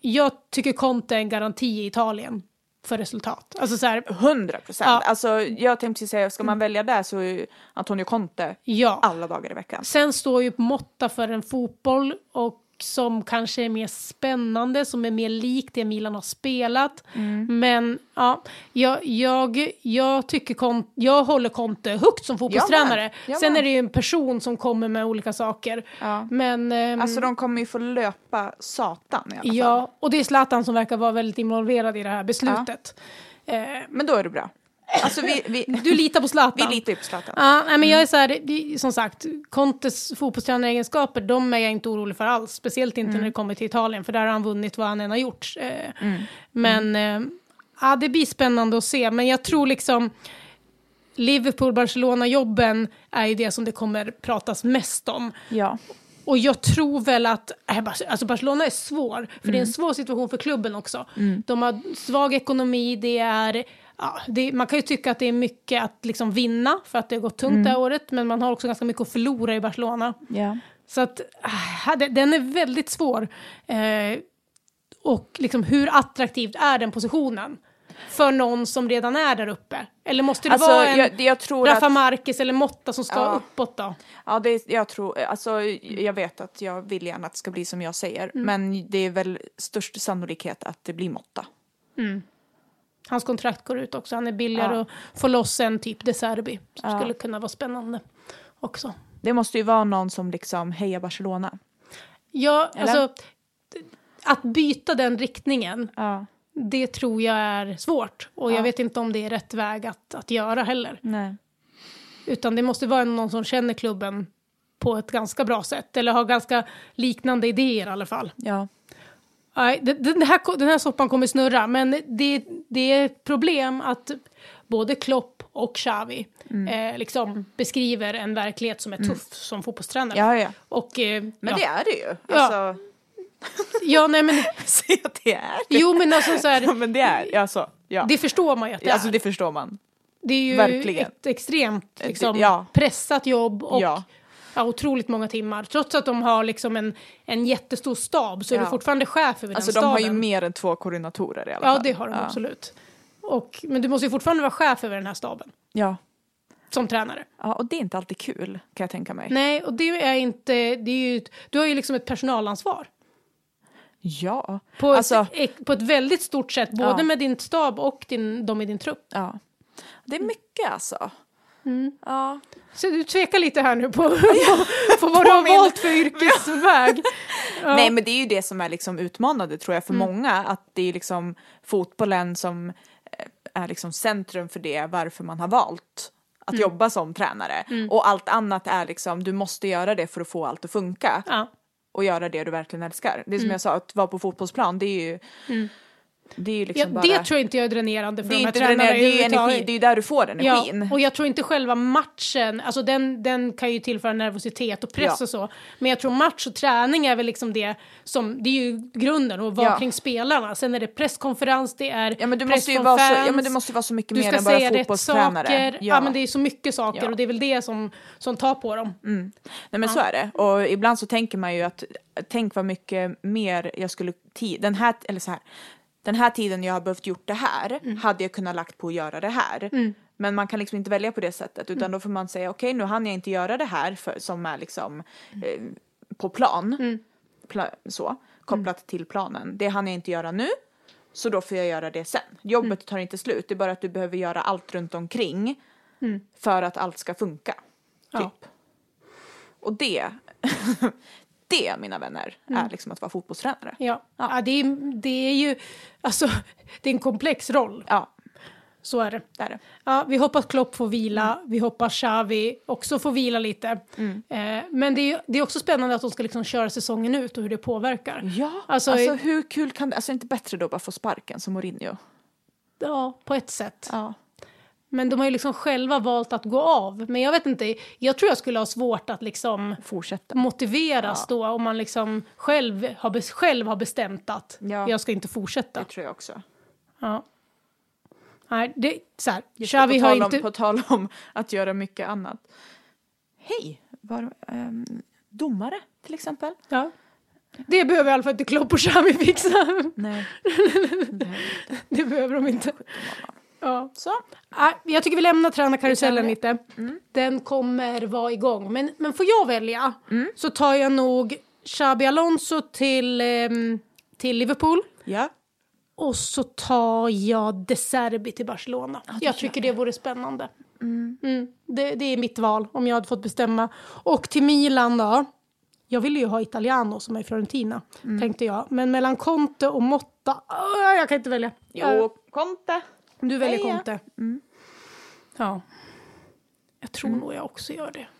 S2: jag tycker Conte är en garanti i Italien för resultat. Alltså så här,
S1: 100 procent.
S2: Ja.
S1: Alltså, jag tänkte precis säga, ska man välja där så är ju Antonio Conte
S2: ja.
S1: alla dagar i veckan.
S2: Sen står ju Motta för en fotboll och som kanske är mer spännande, som är mer lik det Milan har spelat.
S1: Mm.
S2: Men ja, jag, jag, jag, tycker Conte, jag håller Conte högt som fotbollstränare.
S1: Jag med.
S2: Sen är det ju en person som kommer med olika saker.
S1: Ja.
S2: Men, ehm,
S1: Alltså de kommer ju få löpa satan i alla fall.
S2: ja, och det är Zlatan som verkar vara väldigt involverad i det här beslutet. Eh,
S1: Men då är det bra. Alltså vi, vi,
S2: du litar på Zlatan?
S1: vi litar ju på Zlatan.
S2: Ja, nej, men jag är så här, vi- som sagt, Contes fotbollstränaregenskaper, de är jag inte orolig för alls. Speciellt inte när det kommer till Italien, för där har han vunnit vad han än har gjort. Eh, Men eh, ja, det blir spännande att se, men jag tror liksom Liverpool-Barcelona-jobben är ju det som det kommer pratas mest om.
S1: Ja.
S2: Och jag tror väl att, äh, Bar- alltså Barcelona är svår, för det är en
S1: Mm.
S2: svår situation för klubben också. De har svag ekonomi, det är, ja, det, man kan ju tycka att det är mycket att liksom vinna för att det har gått tungt
S1: Mm.
S2: det här året, men man har också ganska mycket att förlora i Barcelona.
S1: ja.
S2: Så att äh, det- den är väldigt svår. Eh, och liksom, hur attraktivt är den positionen? För någon som redan är där uppe? Eller måste det
S1: Alltså,
S2: vara en
S1: jag, jag tror
S2: Rafa
S1: att...
S2: Marquez eller Motta som ska
S1: Ja.
S2: uppåt då?
S1: Ja, det, är- jag, tror, alltså, jag vet att jag vill gärna att det ska bli som jag säger. Men det är väl störst sannolikhet att det blir Motta.
S2: Hans kontrakt går ut också. Han är billigare
S1: Ja.
S2: och får loss en typ De Serbi. Som
S1: Ja.
S2: skulle kunna vara spännande också.
S1: Det måste ju vara någon som liksom hejar Barcelona.
S2: Ja,
S1: Eller?
S2: alltså, att byta den riktningen,
S1: Ja.
S2: det tror jag är svårt. Och
S1: Ja.
S2: jag vet inte om det är rätt väg att, att göra heller.
S1: Nej.
S2: Utan det måste vara någon som känner klubben på ett ganska bra sätt. Eller har ganska liknande idéer i alla fall.
S1: Ja.
S2: Nej, det- Den här, ko- den här soppan kommer snurra, men det, det är ett problem att både Klopp och Xavi
S1: Mm.
S2: eh, liksom beskriver en verklighet som är tuff som fotbollstränare.
S1: Ja, ja.
S2: Och, eh,
S1: Men
S2: ja.
S1: det är det ju.
S2: Ja.
S1: Alltså,
S2: ja, nej men,
S1: se att det är det.
S2: jo men alltså så
S1: Ja,
S2: här,
S1: men det är alltså, ja.
S2: det förstår man ju att det
S1: det alltså
S2: är.
S1: det förstår man.
S2: Det är ju
S1: Verkligen.
S2: ett extremt liksom,
S1: ja.
S2: pressat jobb och ja.
S1: Ja.
S2: otroligt många timmar. Trots att de har liksom en, en jättestor stab så är du
S1: Ja.
S2: fortfarande chef över
S1: Alltså
S2: den
S1: de
S2: staben.
S1: har ju mer än två koordinatorer i alla fall.
S2: Ja, det har de
S1: ja.
S2: absolut. Och, men du måste ju fortfarande vara chef över den här staben
S1: Ja.
S2: som tränare.
S1: ja, och det är inte alltid kul kan jag tänka mig.
S2: Nej, och det är inte... Det är ju, ett- du har ju liksom ett personalansvar.
S1: Ja,
S2: På,
S1: alltså,
S2: ett, eh, på ett väldigt stort sätt, både
S1: Ja.
S2: med din stab och din, de i din trupp.
S1: ja. Det är mycket alltså.
S2: Mm.
S1: Ja.
S2: Så du tvekar lite här nu på, på, på vad du har
S1: min-
S2: valt för yrkesväg. Ja. Mm.
S1: Nej men det är ju det som är liksom utmanande tror jag för många att det är liksom fotbollen som eh, är liksom centrum för det varför man har valt att
S2: Mm.
S1: jobba som tränare och allt annat är liksom du måste göra det för att få allt att funka
S2: Ja.
S1: och göra det du verkligen älskar. Det är som
S2: Mm.
S1: jag sa att vara på fotbollsplan det är ju det är ju
S2: Ja,
S1: liksom bara
S2: det tror jag inte jag är dränerande för
S1: det är
S2: de
S1: ju
S2: här
S1: inte den här,
S2: tränarna
S1: det är ju energi,
S2: överhuvudtaget.
S1: det är ju där du får den energin.
S2: Ja, och jag tror inte själva matchen, alltså den, den kan ju tillföra nervositet och press
S1: Ja.
S2: och så. Men jag tror match och träning är väl liksom det som, det är ju grunden och vara
S1: Ja.
S2: kring spelarna. Sen är det presskonferens, det är
S1: Ja men, du
S2: press
S1: måste ju
S2: från
S1: vara så,
S2: fans,
S1: ja men det måste ju vara så mycket
S2: du
S1: mer
S2: ska
S1: än bara
S2: säga rätt
S1: fotbollstränare.
S2: saker. Ja. men det är så mycket saker
S1: Ja. Mm.
S2: och det är väl det som, som tar på dem.
S1: Nej men så är det. Och ibland så tänker man ju att tänk vad mycket mer jag skulle, ti- den här, eller så här, den här tiden jag har behövt gjort det här hade jag kunnat lagt på att göra det här. Men man kan liksom inte välja på det sättet utan då får man säga okej nu hann jag inte göra det här för, som är liksom eh, på plan. Pla- så, kopplat till planen. Det hann jag inte göra nu. Så då får jag göra det sen. Jobbet tar inte slut, det är bara att du behöver göra allt runt omkring för att allt ska funka.
S2: Ja.
S1: Typ. Och det, det mina vänner, är liksom att vara fotbollstränare.
S2: Ja, ja. det, är, det är ju, alltså, det är en komplex roll,
S1: Ja,
S2: så är det.
S1: det är det.
S2: Ja, vi hoppas Klopp får vila, vi hoppas Xavi också får vila lite.
S1: Mm.
S2: Eh, men det är, det är också spännande att de ska liksom köra säsongen ut och hur det påverkar.
S1: Ja,
S2: Alltså,
S1: alltså, hur kul kan det, alltså är det inte bättre då att bara få sparken som Mourinho?
S2: ja på ett sätt.
S1: Ja.
S2: Men de har ju liksom själva valt att gå av. Men jag vet inte, jag tror jag skulle ha svårt att liksom
S1: Fortsätta.
S2: motiveras då om man liksom själv har, bes- själv har bestämt att
S1: Ja.
S2: jag ska inte fortsätta.
S1: Det tror jag också.
S2: Ja. Nej, det, så här,
S1: Just det,
S2: Xavi
S1: på,
S2: har
S1: tal
S2: ju
S1: om,
S2: inte...
S1: på tal om att göra mycket annat. Hej! Var, ehm, domare till exempel.
S2: Ja. Det behöver i alla fall inte Klopp och Xavi fixa.
S1: Nej.
S2: Det behöver de inte. Ja.
S1: Så.
S2: Ah, Jag tycker vi lämnar tränarkarusellen
S1: Det
S2: lite. Den kommer vara igång. Men, men får jag välja så tar jag nog Xabi Alonso till, ehm, till Liverpool.
S1: Ja.
S2: Och så tar jag De Serbi till Barcelona. jag tycker det vore spännande. Mm. Det, det är mitt val om jag hade fått bestämma. Och till Milan då. Jag ville ju ha Italiano som är i Fiorentina, tänkte jag. Men mellan Conte och Motta, ah, jag kan inte välja.
S1: Jo, Conte.
S2: Du väljer
S1: Heja.
S2: Conte. Mm. Ja. Jag tror nog jag också gör det. Mm.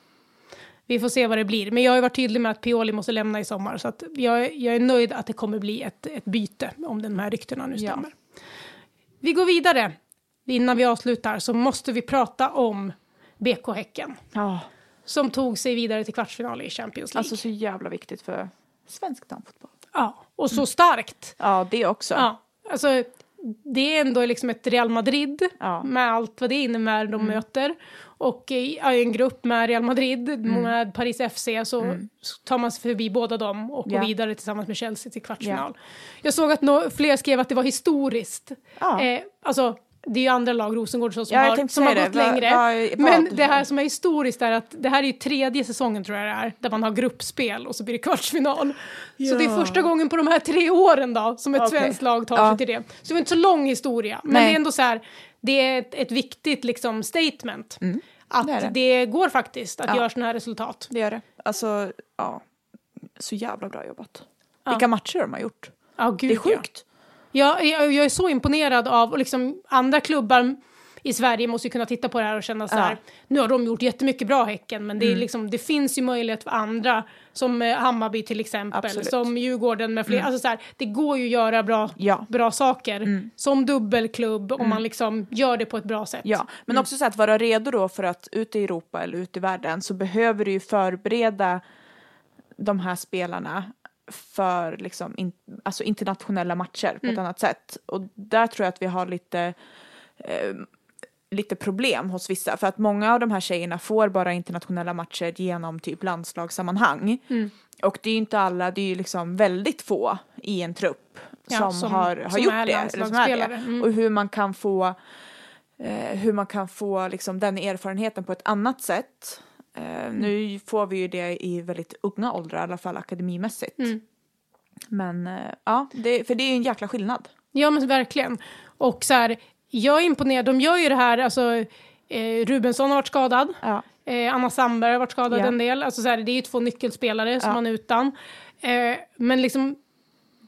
S2: Vi får se vad det blir. Men jag har ju varit tydlig med att Pioli måste lämna i sommar. Så att jag, jag är nöjd att det kommer bli ett, ett byte om de här ryktena nu
S1: Ja.
S2: stämmer. Vi går vidare. Innan vi avslutar så måste vi prata om BK Häcken.
S1: Ja.
S2: Som tog sig vidare till kvartsfinal i Champions League.
S1: Alltså så jävla viktigt för svensk damfotboll.
S2: ja. Mm. Och så starkt.
S1: Ja, det också.
S2: Ja, alltså det är ändå liksom ett Real Madrid
S1: Ja. Mm.
S2: med allt vad det innebär de möter. Och i ja, i en grupp med Real Madrid,
S1: Mm.
S2: med Paris FC, så så tar man sig förbi båda dem och
S1: Ja.
S2: går vidare tillsammans med Chelsea till kvartsfinal. Jag såg att nå- fler skrev att det var historiskt.
S1: Ja.
S2: Eh, alltså, det är ju andra lag, Rosengård så, som,
S1: Ja, jag
S2: har,
S1: tänkte
S2: som har
S1: säga
S2: gått
S1: det. Vad-
S2: längre.
S1: vad- vad-
S2: Men det här som är historiskt är att det här är ju tredje säsongen tror jag det är, där man har gruppspel och så blir det kvartsfinal. Så det är första gången på de här tre åren då som ett
S1: Okej.
S2: svenskt lag tar
S1: Ja.
S2: sig till det. Så det var inte så lång historia, men
S1: Nej.
S2: det är ändå så här, det är ett, ett viktigt liksom statement. Att
S1: Mm. det
S2: det,
S1: är det.
S2: går faktiskt att göra sådana här resultat.
S1: Det gör det. Alltså, ja. Så jävla bra jobbat.
S2: Ja.
S1: Vilka matcher de har gjort.
S2: Ja, gud,
S1: Det är sjukt.
S2: Ja. Jag, jag, jag är så imponerad av och liksom andra klubbar i i Sverige måste ju kunna titta på det här och känna så
S1: Ja. Mm.
S2: här, nu har de gjort jättemycket bra Häcken, men det, är liksom, det finns ju möjlighet för andra, som eh, Hammarby till exempel,
S1: Absolut. Mm.
S2: som Djurgården med fler. Alltså så här, det går ju att göra bra,
S1: Ja. Mm.
S2: bra saker, som dubbelklubb, om man liksom gör det på ett bra sätt.
S1: Ja, men också så att vara redo då för att ute i Europa eller ute i världen så behöver du ju förbereda de här spelarna för liksom in, alltså internationella matcher på ett annat sätt. Och där tror jag att vi har lite, eh, lite problem hos vissa. För att många av de här tjejerna får bara internationella matcher genom typ landslagssammanhang.
S2: Mm.
S1: Och det är ju inte alla, det är ju liksom väldigt få i en trupp
S2: Ja,
S1: som,
S2: som-
S1: har, har
S2: som
S1: gjort
S2: är
S1: det. Eller som är det.
S2: landslagsspelare. Mm.
S1: Och hur man kan få eh, hur man kan få liksom, den erfarenheten på ett annat sätt. Eh,
S2: Mm.
S1: nu får vi ju det i väldigt unga åldrar, i alla fall akademimässigt.
S2: Mm.
S1: Men eh, ja, det, för det är ju en jäkla skillnad.
S2: Ja men verkligen. Och så här, jag är imponerad, de gör ju det här, alltså eh, Rubensson har varit skadad,
S1: Ja.
S2: eh, Anna Sandberg har varit skadad
S1: Ja.
S2: en del, alltså så här, det är ju två nyckelspelare som
S1: Ja.
S2: man är utan. Eh, men liksom,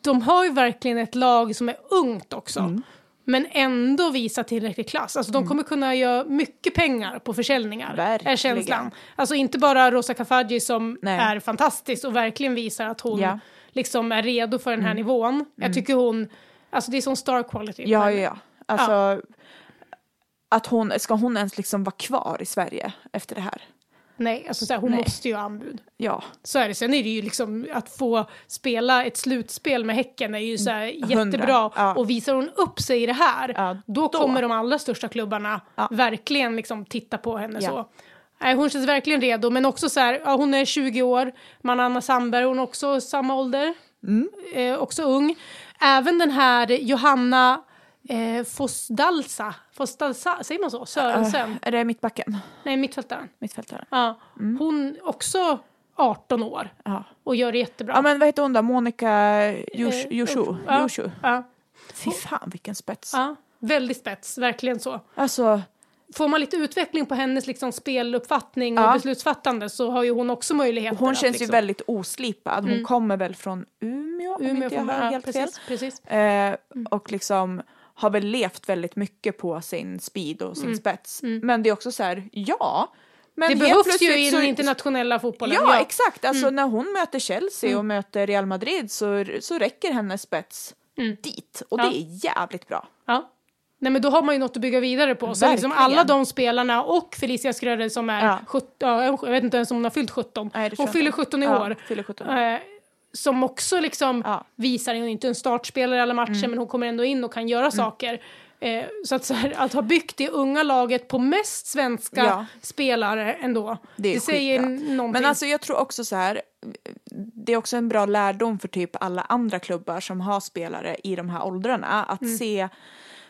S2: de har ju verkligen ett lag som är ungt också.
S1: Mm.
S2: Men ändå visa tillräcklig klass. Alltså de kommer kunna göra mycket pengar på försäljningar. Är
S1: Verkligen.
S2: känslan. Alltså inte bara Rosa Kafaji som
S1: Nej.
S2: är fantastisk och verkligen visar att hon
S1: Ja. Mm.
S2: liksom är redo för den här nivån. Jag tycker hon, alltså det är sån star quality. på
S1: Ja, ja,
S2: henne.
S1: ja. Alltså, Att hon, ska hon ens liksom vara kvar i Sverige efter det här?
S2: Nej, alltså så här, hon
S1: Nej.
S2: måste ju ha anbud.
S1: Ja,
S2: Så är det. Sen är det ju liksom att få spela ett slutspel med Häcken är ju så här
S1: Mm. Hundra,
S2: jättebra.
S1: ja.
S2: Och visar hon upp sig i det här,
S1: Ja,
S2: då,
S1: då.
S2: kommer de allra största klubbarna
S1: Ja.
S2: verkligen liksom titta på henne
S1: Ja.
S2: så. Nej, hon känns verkligen redo, men också så här, ja, hon är 20 år, man Anna Sandberg, hon är också samma ålder,
S1: Mm.
S2: eh, också ung. Även den här Johanna eh, Fosdalsa, Fosdalsa, säger man så? Sörensen?
S1: Eh, är det mittbacken?
S2: Nej, mittfältaren.
S1: Mittfältaren?
S2: Ja.
S1: Mm.
S2: Hon också 18 år
S1: Ja.
S2: och gör det jättebra.
S1: ja, men vad heter hon då? Monica Jushu?
S2: Eh,
S1: Jushu?
S2: ja,
S1: Jushu.
S2: Ja,
S1: Fy fan vilken spets.
S2: ja. Väldigt spets, verkligen så.
S1: Alltså,
S2: Får man lite utveckling på hennes liksom speluppfattning och
S1: Ja.
S2: beslutsfattande så har ju hon också möjligheter.
S1: Hon
S2: att
S1: känns
S2: liksom,
S1: ju väldigt oslipad. Hon kommer väl från Mm. Umeå, om inte jag
S2: från-
S1: har
S2: ja,
S1: helt
S2: precis,
S1: fel.
S2: Precis.
S1: Eh, och liksom har väl levt väldigt mycket på sin speed och sin spets. Men det är också så här, ja. Men
S2: Det
S1: helt
S2: behövs ju
S1: plötsligt
S2: i
S1: så-
S2: den internationella fotbollen. Mm.
S1: Ja, exakt. Alltså när hon möter Chelsea och möter Real Madrid så, så räcker hennes spets dit. Och
S2: Mm. Ja.
S1: det är jävligt bra.
S2: Ja. Nej, men då har man ju något att bygga vidare på. Så liksom
S1: Verkligen.
S2: alla de spelarna och Felicia Skröder som är
S1: Ja.
S2: 17, ja, jag vet inte ens om hon har fyllt 17.
S1: Nej, det tror
S2: hon
S1: jag
S2: fyller
S1: inte.
S2: 17 i
S1: Ja,
S2: år.
S1: fyller 17.
S2: Eh, som också liksom
S1: Ja. Mm.
S2: visar, hon är inte en startspelare i alla matcher men hon kommer ändå in och kan göra saker. Eh, så att, så här, att ha byggt det unga laget på mest svenska
S1: Ja.
S2: spelare ändå,
S1: Det,
S2: det,
S1: är
S2: säger
S1: skitbra.
S2: någonting.
S1: Men alltså jag tror också så här, det är också en bra lärdom för typ alla andra klubbar som har spelare i de här åldrarna, att
S2: Mm.
S1: se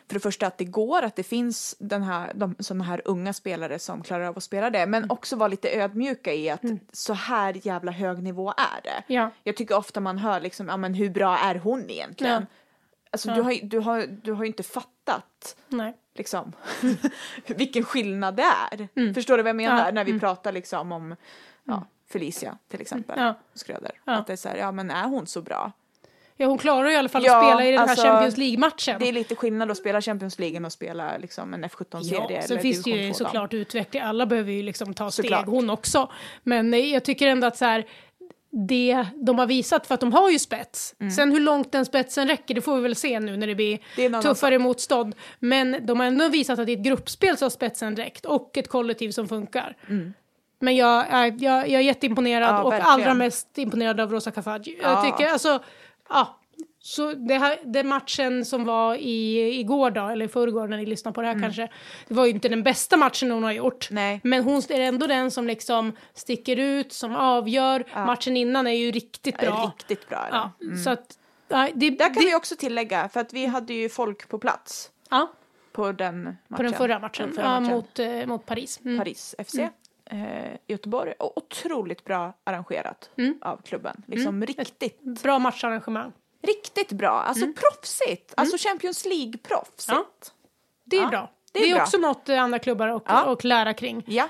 S1: för det första att det går, att det finns den här, de, såna här unga spelare som klarar av att spela det,
S2: Mm.
S1: men också vara lite ödmjuka i att så här jävla hög nivå är det.
S2: Ja.
S1: Jag tycker ofta man hör liksom, ja men hur bra är hon egentligen?
S2: Ja.
S1: Alltså du, har, ju- du, har, du har ju inte fattat
S2: Nej.
S1: liksom, vilken skillnad det är. Förstår du vad jag menar?
S2: Mm. Ja, Mm.
S1: När vi pratar liksom om ja, Felicia till exempel,
S2: Ja.
S1: Skröder.
S2: Ja.
S1: Att det är så här, ja men är hon så bra?
S2: Ja, hon klarar ju i alla fall
S1: Ja,
S2: att spela i den
S1: alltså,
S2: här Champions League-matchen.
S1: Det är lite skillnad att spela Champions League än att spela liksom, en F17-serie.
S2: Ja,
S1: eller
S2: sen finns det ju
S1: division 2-lag.
S2: såklart utveckling. Alla behöver ju liksom ta steg,
S1: Såklart.
S2: hon också. Men eh, jag tycker ändå att så här, det de har visat, för att de har ju spets. Sen hur långt den spetsen räcker, det får vi väl se nu när det blir
S1: Mm. Det är en annan
S2: tuffare motstånd. Men de har ändå visat att i ett gruppspel så har spetsen räckt och ett kollektiv som funkar. Men jag, är- jag, jag är jätteimponerad
S1: Mm. Ja,
S2: och
S1: verkligen.
S2: allra mest imponerad av Rosa Kafaji. Jag
S1: Ja.
S2: tycker, alltså, ja. Så det här, den matchen som var i, igår då, eller i förrgår när ni lyssnar på det här kanske, det var ju inte den bästa matchen hon har gjort.
S1: Mm. Nej.
S2: Men hon är ändå den som liksom sticker ut, som avgör. Matchen innan är ju riktigt
S1: Det är
S2: bra.
S1: Riktigt bra. är det.
S2: Ja, Så att, nej, det,
S1: Där kan
S2: det,
S1: vi också tillägga, för att vi hade ju folk på plats
S2: ja,
S1: på den matchen.
S2: på den förra matchen,
S1: förra
S2: Ja,
S1: matchen.
S2: mot, eh, mot Paris. Mm.
S1: Paris FC. Eh, Göteborg, och otroligt bra arrangerat
S2: Mm.
S1: av klubben. Liksom riktigt
S2: Bra matcharrangemang.
S1: Riktigt bra, alltså
S2: Mm.
S1: proffsigt. Alltså Champions League-proffsigt.
S2: Det är
S1: Ja,
S2: bra.
S1: det
S2: Det
S1: är
S2: är,
S1: bra.
S2: också något eh, andra klubbar och,
S1: Ja.
S2: och lära kring.
S1: Ja.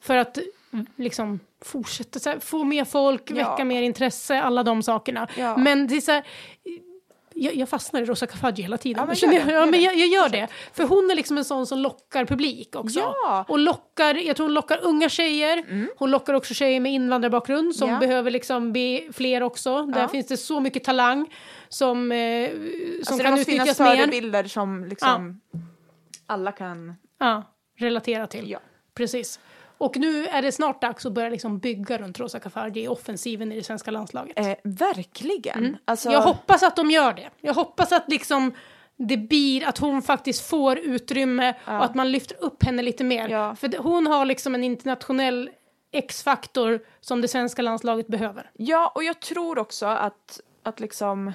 S2: För att mm, liksom fortsätta så här, få mer folk,
S1: Ja.
S2: väcka mer intresse, alla de sakerna.
S1: Ja.
S2: Men det är så här, jag, jag fastnar i Rosa Kafaji hela tiden.
S1: Ja, men
S2: Känner
S1: gör det,
S2: jag, ja,
S1: gör
S2: men
S1: det.
S2: jag, jag gör det. För hon är liksom en sån som lockar publik också.
S1: Ja. Mm.
S2: Och lockar, jag tror hon lockar unga tjejer. Hon lockar också tjejer med invandrarbakgrund som
S1: Ja.
S2: behöver liksom bli fler också. Där
S1: Ja.
S2: finns det så mycket talang som, eh, som
S1: Alltså, det
S2: kan
S1: måste finnas
S2: utnyttjas mer.
S1: förebilder som liksom alla kan...
S2: Ja, relatera till.
S1: Ja.
S2: Precis. Och nu är det snart dags att börja liksom bygga runt Rosa Kafaji i offensiven i det svenska landslaget.
S1: Eh, verkligen. Alltså,
S2: Mm. Jag hoppas att de gör det. Jag hoppas att liksom det blir att hon faktiskt får utrymme och att man lyfter upp henne lite mer.
S1: Ja.
S2: För det- hon har liksom en internationell X-faktor som det svenska landslaget behöver.
S1: Ja, och jag tror också att, att liksom...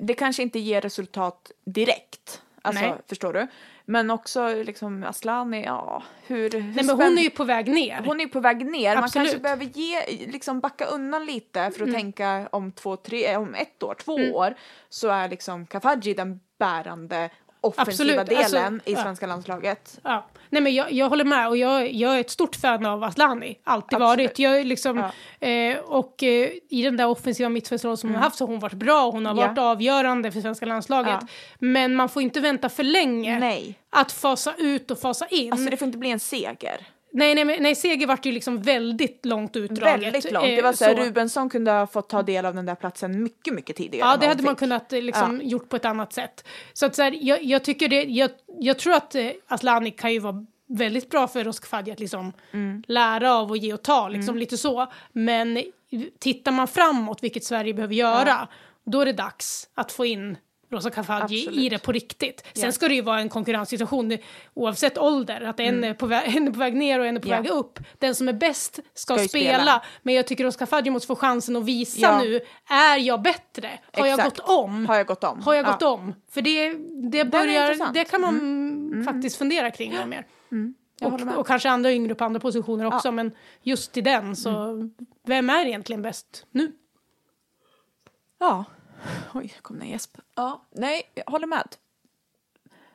S1: Det kanske inte ger resultat direkt. Alltså,
S2: Nej.
S1: förstår du? Men också liksom Asllani, ja, hur... hur
S2: Nej, men hon
S1: spänd-
S2: är ju på väg ner.
S1: hon är ju på väg ner. Man
S2: Absolut.
S1: kanske
S2: Mm.
S1: behöver ge, liksom backa undan lite för att tänka om, två, tre, eh, om ett år, två år så är liksom Kafaji den bärande offensiva
S2: Absolut, alltså,
S1: delen i
S2: ja.
S1: svenska landslaget.
S2: Ja. Nej, men jag, jag håller med och jag, jag är ett stort fan av Aslani. Alltid
S1: Absolut.
S2: varit. Jag är liksom, eh, och eh, i den där offensiva mittfältsrollen som hon har haft så har hon varit bra och hon har
S1: Mm. Ja.
S2: varit avgörande för svenska landslaget.
S1: Ja.
S2: Men man får inte vänta för länge
S1: Nej.
S2: att fasa ut och fasa in.
S1: Alltså det får inte bli en seger.
S2: nej, nej, men- nej, seger vart ju liksom väldigt långt utdraget.
S1: Väldigt långt.
S2: eh,
S1: Det var så här, Rubensson kunde ha fått ta del av den där platsen mycket, mycket tidigare.
S2: Ja,
S1: än
S2: det
S1: vad
S2: hade
S1: hon
S2: man
S1: fick.
S2: kunnat eh, liksom, gjort på ett annat sätt. Så att så här, jag, jag tycker det, jag, jag tror att eh, Asllani kan ju vara väldigt bra för Roskfadji att liksom
S1: Mm.
S2: lära av och ge och ta, liksom lite så. Men tittar man framåt, vilket Sverige behöver göra, då är det dags att få in Rosa Kafaji
S1: Absolut.
S2: i det på riktigt. Sen
S1: Ja.
S2: ska det ju vara en konkurrenssituation eh, oavsett ålder, att en, är på väg, en är på väg ner och en är på
S1: Mm. Ja.
S2: väg upp. Den som är bäst ska,
S1: Ska ju
S2: spela.
S1: spela.
S2: men jag tycker Rosa Kafaji måste få chansen att visa
S1: Ja.
S2: nu, är jag bättre? Har jag
S1: Exakt.
S2: gått om?
S1: Har jag gått om?
S2: Mm. Har jag gått
S1: ja.
S2: om? För det, det, börjar,
S1: intressant. Mm.
S2: det kan man faktiskt fundera kring mer.
S1: jag håller med.
S2: Och, och kanske andra yngre på andra positioner också, men just i den så,
S1: Mm.
S2: vem är egentligen bäst nu?
S1: Ja. Oj, kom det en gäsp. Ja, nej, jag håller med.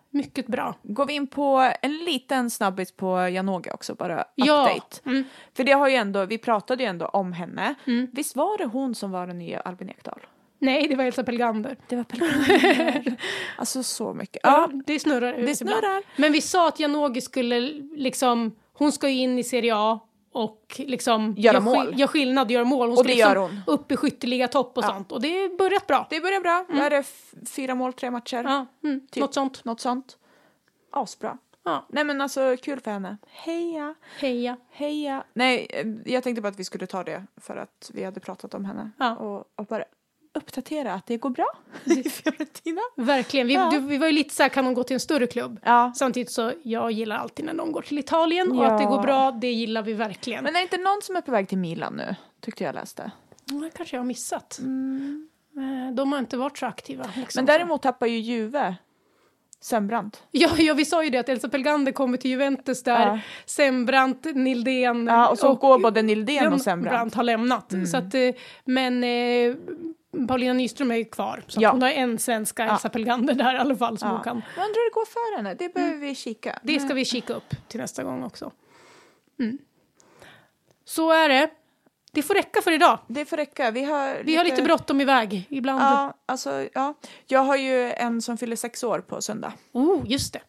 S2: Mycket bra.
S1: Går vi in på en liten snabbis på Janoga också, bara update.
S2: Ja. Mm.
S1: För det har ju ändå, vi pratade ju ändå om henne. Visst var det hon som var den nya Albin Ekdal?
S2: Nej, det var Elsa Pelgander.
S1: Det var Pellegrin. alltså så mycket. Ja,
S2: Det snurrar ut
S1: Det
S2: ibland.
S1: snurrar.
S2: Men vi sa att Janogy skulle liksom, hon ska ju in i Serie A och liksom
S1: Göra
S2: sk-
S1: mål.
S2: göra skillnad, göra mål. Hon
S1: Och
S2: ska
S1: det
S2: liksom
S1: gör hon.
S2: upp i skytteliga topp och sånt. Och det har börjat bra.
S1: det börjar bra. Vad är det? F- Fyra mål, tre matcher?
S2: Mm. Ja, mm,
S1: Typ.
S2: Något sånt.
S1: Något sånt. Asbra.
S2: Ja.
S1: Nej men alltså kul för henne. Heja,
S2: Heja.
S1: heja. Nej, eh, jag tänkte bara att vi skulle ta det för att vi hade pratat om henne.
S2: Ja.
S1: Och, och bara uppdatera att det går bra i Fiorentina.
S2: Verkligen. Vi,
S1: Ja.
S2: du, vi var ju lite så här, kan hon gå till en större klubb?
S1: Ja.
S2: Samtidigt så, jag gillar alltid när någon går till Italien och
S1: Ja.
S2: att det går bra, det gillar vi verkligen.
S1: Men är det inte någon som är på väg till Milan nu? Tyckte jag läste.
S2: Men, det kanske jag har missat. Eh, De har inte varit så aktiva. Liksom.
S1: Mm. Men däremot tappar ju Juve Sembrant.
S2: Ja, ja, vi sa ju det att Elsa Pelgander kommer till Juventus där,
S1: Ja.
S2: Sembrant, Nildén
S1: Ja, och så går både Nildén och Mm. Sembrant.
S2: Brandt har lämnat. Så att, eh, men eh, Paulina Nyström är ju kvar. Så
S1: Ja.
S2: att hon har en svenska, Elsa Pelgander, där i alla fall som
S1: Ja.
S2: hon kan.
S1: Jag undrar hur det går för henne. Det behöver vi kika.
S2: Det ska vi kika upp till nästa gång också. Mm. Så är det. Det får räcka för idag.
S1: Det får räcka. Vi har
S2: Vi har lite bråttom iväg ibland.
S1: Ja, alltså, ja. Jag har ju en som fyller sex år på söndag.
S2: Oh, just det.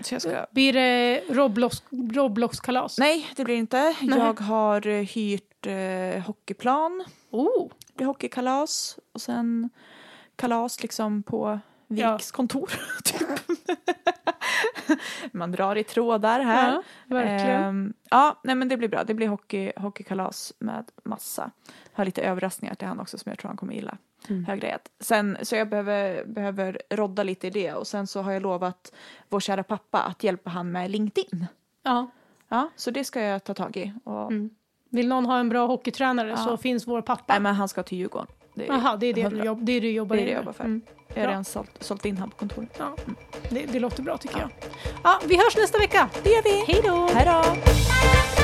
S1: Så jag ska...
S2: Blir det Roblox, Roblox-kalas?
S1: Nej, det blir inte. Jag har eh, hyrt eh, hockeyplan.
S2: Oh.
S1: Det blir hockeykalas och sen kalas liksom på
S2: Ja.
S1: Viks kontor. Typ. Man drar i trådar här.
S2: Ja, verkligen.
S1: Ehm, ja, nej men det blir bra. Det blir hockey, hockeykalas med massa. Har lite överraskningar till han också som jag tror han kommer gilla.
S2: Mm.
S1: Har grejat. Sen, så jag behöver, behöver rodda lite i det och sen så har jag lovat vår kära pappa att hjälpa han med LinkedIn.
S2: Ja.
S1: Ja, så det ska jag ta tag i. Och,
S2: Mm. Vill någon ha en bra hockeytränare så finns vår pappa.
S1: Nej men han ska till Djurgården. Det är,
S2: Jaha, det är det, du,
S1: 100.
S2: jobb, det är det du jobbar
S1: det, är
S2: in
S1: det
S2: med.
S1: jag jobbar för.
S2: Mm.
S1: Jag har
S2: Bra.
S1: redan sålt, sålt in han på kontoret.
S2: Ja. Det, det låter bra tycker jag. Ja, vi hörs nästa vecka. Det gör vi. Hej då.
S1: Hej då!
S3: Thank